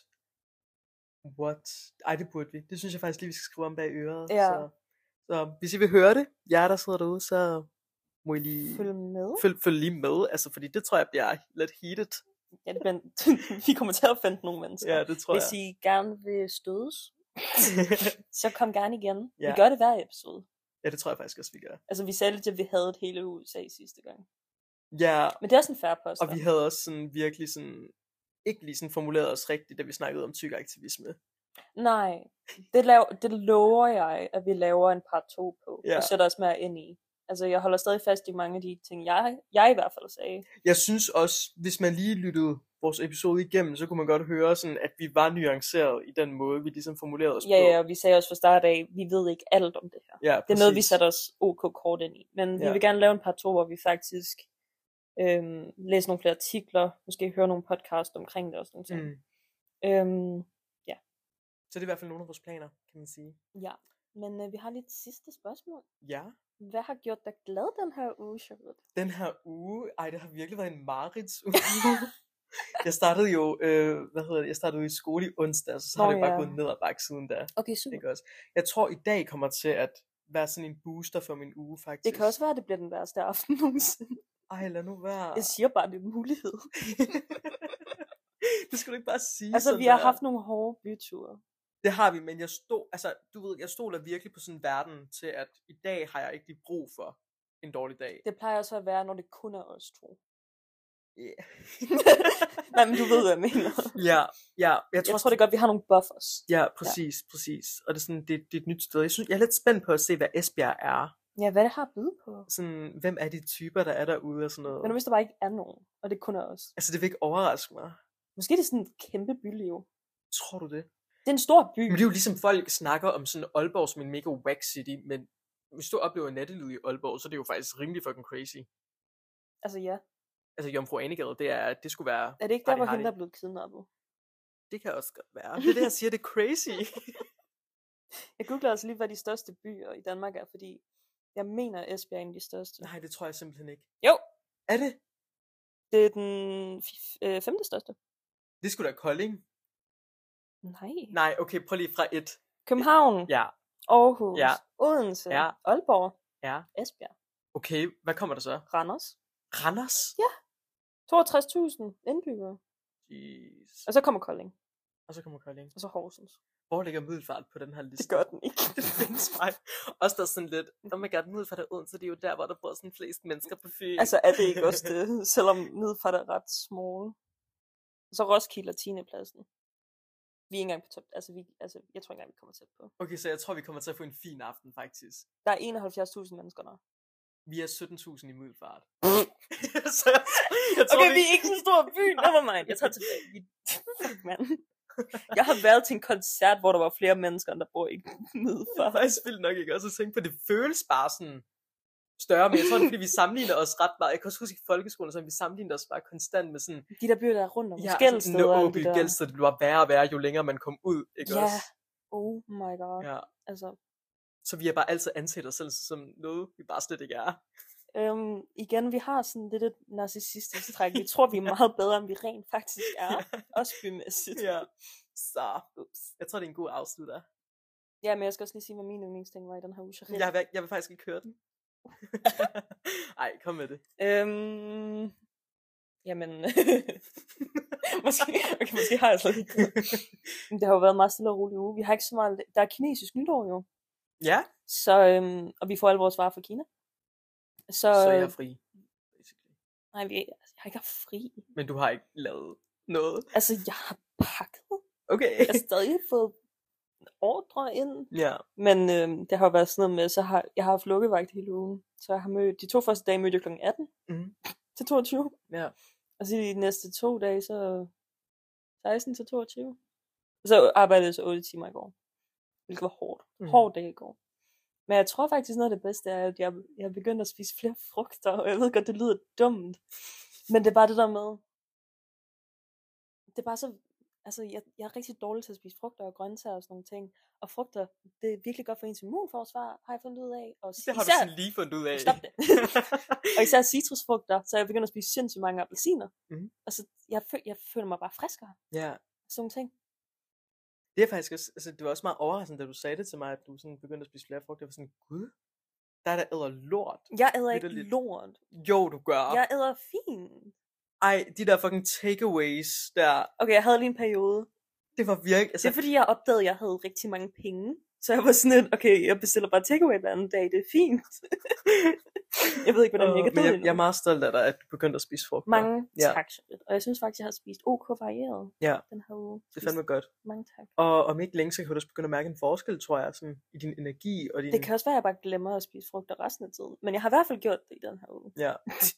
S2: What? Ej, det burde vi. Det synes jeg faktisk lige, vi skal skrive om bag øret.
S1: Ja.
S2: Så, så hvis I vil høre det, jer der sidder derude, så må I lige...
S1: Følg med.
S2: Mm. følg, følg lige med, altså, fordi det tror jeg bliver lidt heated.
S1: Ja, det bliver, vi kommer til at finde nogle mennesker.
S2: Ja, det tror
S1: Hvis
S2: jeg.
S1: I gerne vil stødes, så kom gerne igen. Ja. Vi
S2: Ja.
S1: gør det hver episode.
S2: ja, det tror jeg faktisk også, vi gør.
S1: Altså, vi sagde lidt, at vi havde et hele USA sidste gang.
S2: Ja,
S1: Men det er også en færre post.
S2: og vi havde også sådan virkelig sådan, ikke lige sådan formuleret os rigtigt, da vi snakkede om tykaktivisme.
S1: Nej, det, laver, det lover jeg, at vi laver en par to på,
S2: Ja.
S1: og sætter os mere ind i. Altså, jeg holder stadig fast i mange af de ting, jeg, jeg i hvert fald sagde.
S2: Jeg synes også, hvis man lige lyttede vores episode igennem, så kunne man godt høre sådan, at vi var nuanceret i den måde, vi ligesom formulerede os
S1: Ja,
S2: på.
S1: ja, og vi sagde også fra start af, vi ved ikke alt om det her.
S2: ja
S1: Det er noget, vi
S2: præcis.
S1: sætter os ok kort ind i. Men vi
S2: Ja.
S1: vil gerne lave en par to, hvor vi faktisk øhm, læser nogle flere artikler, måske hører nogle podcast omkring det og sådan noget. Mm.
S2: Mm.
S1: Øhm,
S2: Så det er i hvert fald nogle af vores planer, kan man sige.
S1: ja, men øh, vi har lige et sidste spørgsmål.
S2: Ja.
S1: Hvad har gjort dig glad den her uge, Charlotte?
S2: Den her uge, ej, det har virkelig været en marerids uge. jeg startede jo, øh, hvad hedder det, jeg startede jo i skole i onsdag, så, så har
S1: Nå
S2: det jo bare
S1: ja.
S2: gået ned og bakke siden da.
S1: Okay, super.
S2: Ikke også? Jeg tror, i dag kommer til at være sådan en booster for min uge, faktisk.
S1: Det kan også være, at det bliver den værste aften nogensinde.
S2: Ej, lad nu være.
S1: Jeg siger bare, det er en mulighed.
S2: det skal du ikke bare sige.
S1: Altså,
S2: sådan
S1: vi har
S2: der.
S1: haft nogle hårde byture.
S2: Det har vi, men jeg stod, altså, du ved, jeg stoler virkelig på sådan en verden til, at i dag har jeg ikke lige brug for en dårlig dag.
S1: Det plejer også at være, når det kun er os to.
S2: Yeah.
S1: Nej, men du ved, hvad jeg mener.
S2: ja, ja, jeg
S1: Jeg tror,
S2: tror,
S1: jeg
S2: også,
S1: tror det er godt, vi har nogle buffers.
S2: Ja, præcis, ja. præcis. Og det er, sådan, det, det er et nyt sted. Jeg, synes, jeg er lidt spændt på at se, hvad Esbjerg er.
S1: Ja, hvad det har at byde på.
S2: Sådan, hvem er de typer, der er derude og sådan noget.
S1: Men nu, hvis der bare ikke er nogen, og det kun er os.
S2: Altså, det vil ikke overraske mig.
S1: Måske er det sådan et kæmpe byliv.
S2: Tror du det?
S1: Det er en stor by.
S2: Men det er jo ligesom, folk snakker om sådan Aalborg som en mega wack city, men hvis du oplever nattelivet i Aalborg, så er det jo faktisk rimelig fucking crazy.
S1: Altså ja.
S2: Altså, Jomfru Anegade, det, er, det skulle være...
S1: Er det ikke der,
S2: Hardy,
S1: hvor hende
S2: hardy.
S1: der er blevet kidnappet?
S2: Det kan også godt være. Det er det, jeg siger, det er crazy.
S1: Jeg googler også lige, hvad de største byer i Danmark er, fordi jeg mener, at Esbjerg er en af de største.
S2: Nej, det tror jeg simpelthen ikke.
S1: Jo.
S2: Er det?
S1: Det er den f- øh, femte største.
S2: Det skulle da Kolding.
S1: Nej.
S2: Nej, okay, prøv lige fra et.
S1: København,
S2: Ja.
S1: Aarhus,
S2: Ja.
S1: Odense,
S2: Ja.
S1: Aalborg,
S2: Ja.
S1: Esbjerg,
S2: Okay, hvad kommer der så?
S1: Randers.
S2: Randers?
S1: 62.000 indbyggere.
S2: Jeez.
S1: Og så kommer Kolding,
S2: Og så kommer Kolding.
S1: og så Horsens.
S2: Hvor ligger Middelfart på den her liste?
S1: gør den ikke.
S2: det findes mig. Også der er sådan lidt, oh my god, Middelfart er Odense, det er jo der, hvor der bor sådan flest mennesker på Fyn.
S1: Altså er det ikke også det, selvom Middelfart er ret small. Og så Roskilde og 10. pladsen. Vi er ikke engang på top. Altså, vi, altså jeg tror ikke engang, vi kommer tæt på.
S2: Okay, så jeg tror, vi kommer til at få en fin aften, faktisk.
S1: Der er 71.000 mennesker der.
S2: Vi er 17.000 i Middelfart. så jeg, jeg tror,
S1: Okay, vi er ikke så stor by. Never mind. Jeg tager tilbage. Vi- Fuck, mand. Jeg har været til en koncert, hvor der var flere mennesker, end der bor i
S2: Det er
S1: Middelfart.
S2: faktisk vildt nok ikke også at tænke på, det føles bare sådan større, men jeg tror, det er, fordi vi sammenligner os ret meget. Jeg kan også huske i folkeskolen, så vi sammenligner os bare konstant med sådan,
S1: De der byer, der er rundt om ja,
S2: altså,
S1: skældsteder.
S2: Nå,
S1: og alle
S2: Åby
S1: de der.
S2: Gældsted, det var værre og værre, jo længere man kom ud, ikke
S1: Ja.
S2: også?
S1: Oh my god. Ja.
S2: Ja.
S1: Altså,
S2: Så vi har bare altid anset os selv som noget, vi bare slet ikke er.
S1: øhm, igen, vi har sådan lidt et narcissistisk træk. Vi tror, vi er meget bedre, end vi rent faktisk er. Også bymæssigt.
S2: ja. Så, ups. Jeg tror, det er en god afslutter.
S1: ja, men jeg skal også lige sige, hvad min yndlingsting var i den her uge.
S2: Jeg, vil, jeg vil faktisk ikke høre den. Ej, kom med det.
S1: Øhm, jamen, måske, okay, måske har jeg slet ikke hørt. Men Det har jo været en meget stille og rolig uge. Vi har ikke så meget... Der er kinesisk nytår jo.
S2: ja,
S1: Så, øhm, og vi får alle vores varer fra Kina. Så,
S2: så er
S1: øh,
S2: jeg fri. basically.
S1: nej, vi, jeg har ikke haft fri.
S2: Men du har ikke lavet noget.
S1: Altså, jeg har pakket.
S2: Okay.
S1: Jeg har stadig fået ordre ind.
S2: ja.
S1: Men øhm, det har jo været sådan noget med, så har, jeg har haft lukkevagt hele ugen. Så jeg har mødt, de to første dage mødte jeg kl. 18
S2: Mhm.
S1: til 22.
S2: ja.
S1: Og så de næste to dage, så 16 til 22. Så arbejdede jeg så 8 timer i går. Hvilket var hårdt. Mm.
S2: Mhm.
S1: Hård dag i går. Men jeg tror faktisk, noget af det bedste er, at jeg, jeg er begyndt at spise flere frugter. Og jeg ved godt, det lyder dumt. Men det er bare det der med... Det er bare så... Altså, jeg, jeg er rigtig dårlig til at spise frugter og grøntsager og sådan nogle ting. Og frugter, det er virkelig godt for ens immunforsvar, har jeg fundet ud af. Og
S2: Det har du
S1: især,
S2: sådan øh, lige fundet ud af.
S1: Stop det. og især citrusfrugter, så jeg begynder at spise sindssygt mange appelsiner.
S2: Mhm.
S1: Altså, jeg, føl- jeg føler mig bare friskere.
S2: ja.
S1: Sådan nogle ting.
S2: Det er faktisk også, altså, det var også meget overraskende, da du sagde det til mig, at du sådan begyndte at spise flere frugt. Jeg var sådan, gud, der er der æder lort.
S1: Jeg æder ikke
S2: Vitterligt. Ah.
S1: lort.
S2: Jo, du gør.
S1: Jeg æder fint.
S2: Ej, de der fucking takeaways der,
S1: Okay, jeg havde lige en periode.
S2: det var virkelig,
S1: Det
S2: altså,
S1: er fordi, jeg opdagede, at jeg havde rigtig mange penge. Så jeg var sådan lidt, okay, jeg bestiller bare takeaway hver anden dag, det er fint. jeg ved ikke, hvordan jeg
S2: Åh,
S1: kan
S2: men
S1: dø
S2: jeg,
S1: endnu.
S2: jeg er meget stolt af dig, at du begyndte at spise frugt.
S1: Mange ja.
S2: Ja.
S1: tak, Charlotte. Og jeg synes faktisk, jeg har spist ok varieret
S2: Ja.
S1: den her uge.
S2: Det er fandme godt.
S1: Mange tak.
S2: Og om ikke længe, så kan du også begynde at mærke en forskel, tror jeg, sådan, i din energi og din...
S1: Det kan også være, at jeg bare glemmer at spise frugter resten af tiden. Men jeg har i hvert fald gjort det i den her uge.
S2: Ja,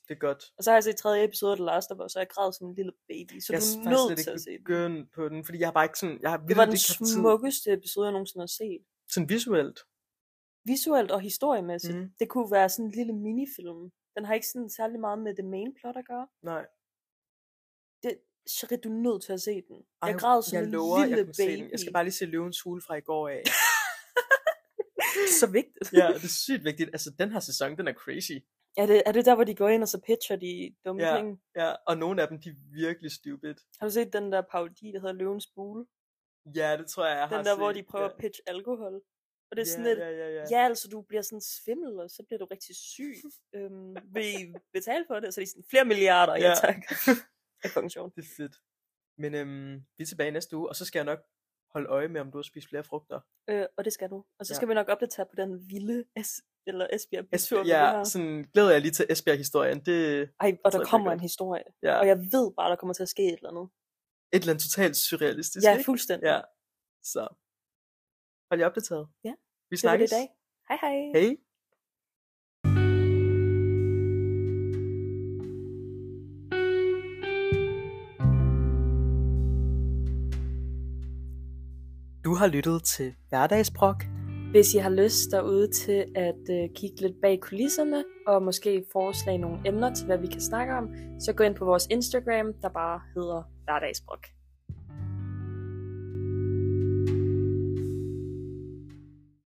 S2: det er godt.
S1: Og så har jeg set tredje episode af The Last of Us, og jeg græd som en lille baby. Så
S2: jeg
S1: du er
S2: er faktisk slet
S1: nødt til
S2: ikke
S1: at se den.
S2: begyndt på den, fordi jeg har bare ikke sådan... Jeg har
S1: Det var
S2: virkelig
S1: den
S2: ikke haft tid,
S1: smukkeste episode, jeg nogensinde har set.
S2: Sådan visuelt.
S1: Visuelt og historiemæssigt. Mm.
S2: Mhm.
S1: Det kunne være sådan en lille minifilm. Den har ikke sådan særlig meget med det main plot at gøre.
S2: Nej.
S1: Det, Shrit, du er nødt til at se den. Jeg
S2: Ej,
S1: græd som
S2: jeg
S1: en
S2: lover,
S1: lille
S2: jeg kunne
S1: baby.
S2: Se den. Jeg skal bare lige se Løvens Hule fra i går af.
S1: Så vigtigt.
S2: ja, det er sygt vigtigt. Altså, den her sæson, den er crazy.
S1: Er det, er det der, hvor de går ind, og så pitcher de dumme
S2: Ja.
S1: ting?
S2: Ja, og nogle af dem, de er virkelig stupid.
S1: Har du set den der parodi, der hedder Løvens Bule?
S2: Ja, det tror jeg, jeg har
S1: Den der,
S2: set.
S1: hvor de prøver
S2: ja.
S1: at pitche alkohol. Og det er
S2: ja,
S1: sådan lidt,
S2: ja, ja, ja.
S1: Ja, altså du bliver sådan svimmel, og så bliver du rigtig syg. Øhm, vil I betale for det? Så er de sådan, flere milliarder, ja,
S2: Ja.
S1: tak. Det er fucking sjovt.
S2: Det er fedt. Men øhm, vi er tilbage næste uge, og så skal jeg nok holde øje med, om du har spist flere frugter.
S1: Øh, og det skal du. Og så
S2: Ja.
S1: skal vi nok opdatere på den vilde S- eller Esbjerg bytur. vi
S2: ja,
S1: har.
S2: sådan glæder jeg lige til Esbjerg-historien. Det
S1: Ej, og
S2: tror
S1: der
S2: jeg
S1: kommer
S2: godt.
S1: en historie.
S2: ja,
S1: Og jeg ved bare, der kommer til at ske et eller andet.
S2: et eller andet totalt surrealistisk.
S1: Ja,
S2: ikke?
S1: fuldstændig.
S2: ja. Så hold jer opdateret.
S1: Ja.
S2: Vi
S1: Det var det
S2: snakkes.
S1: i dag. Hej hej.
S2: Hej. Du har lyttet til Hverdagsbrok.
S1: Hvis I har lyst derude til at øh, kigge lidt bag kulisserne, og måske foreslage nogle emner til, hvad vi kan snakke om, så gå ind på vores Instagram, der bare hedder Hverdagsbrok.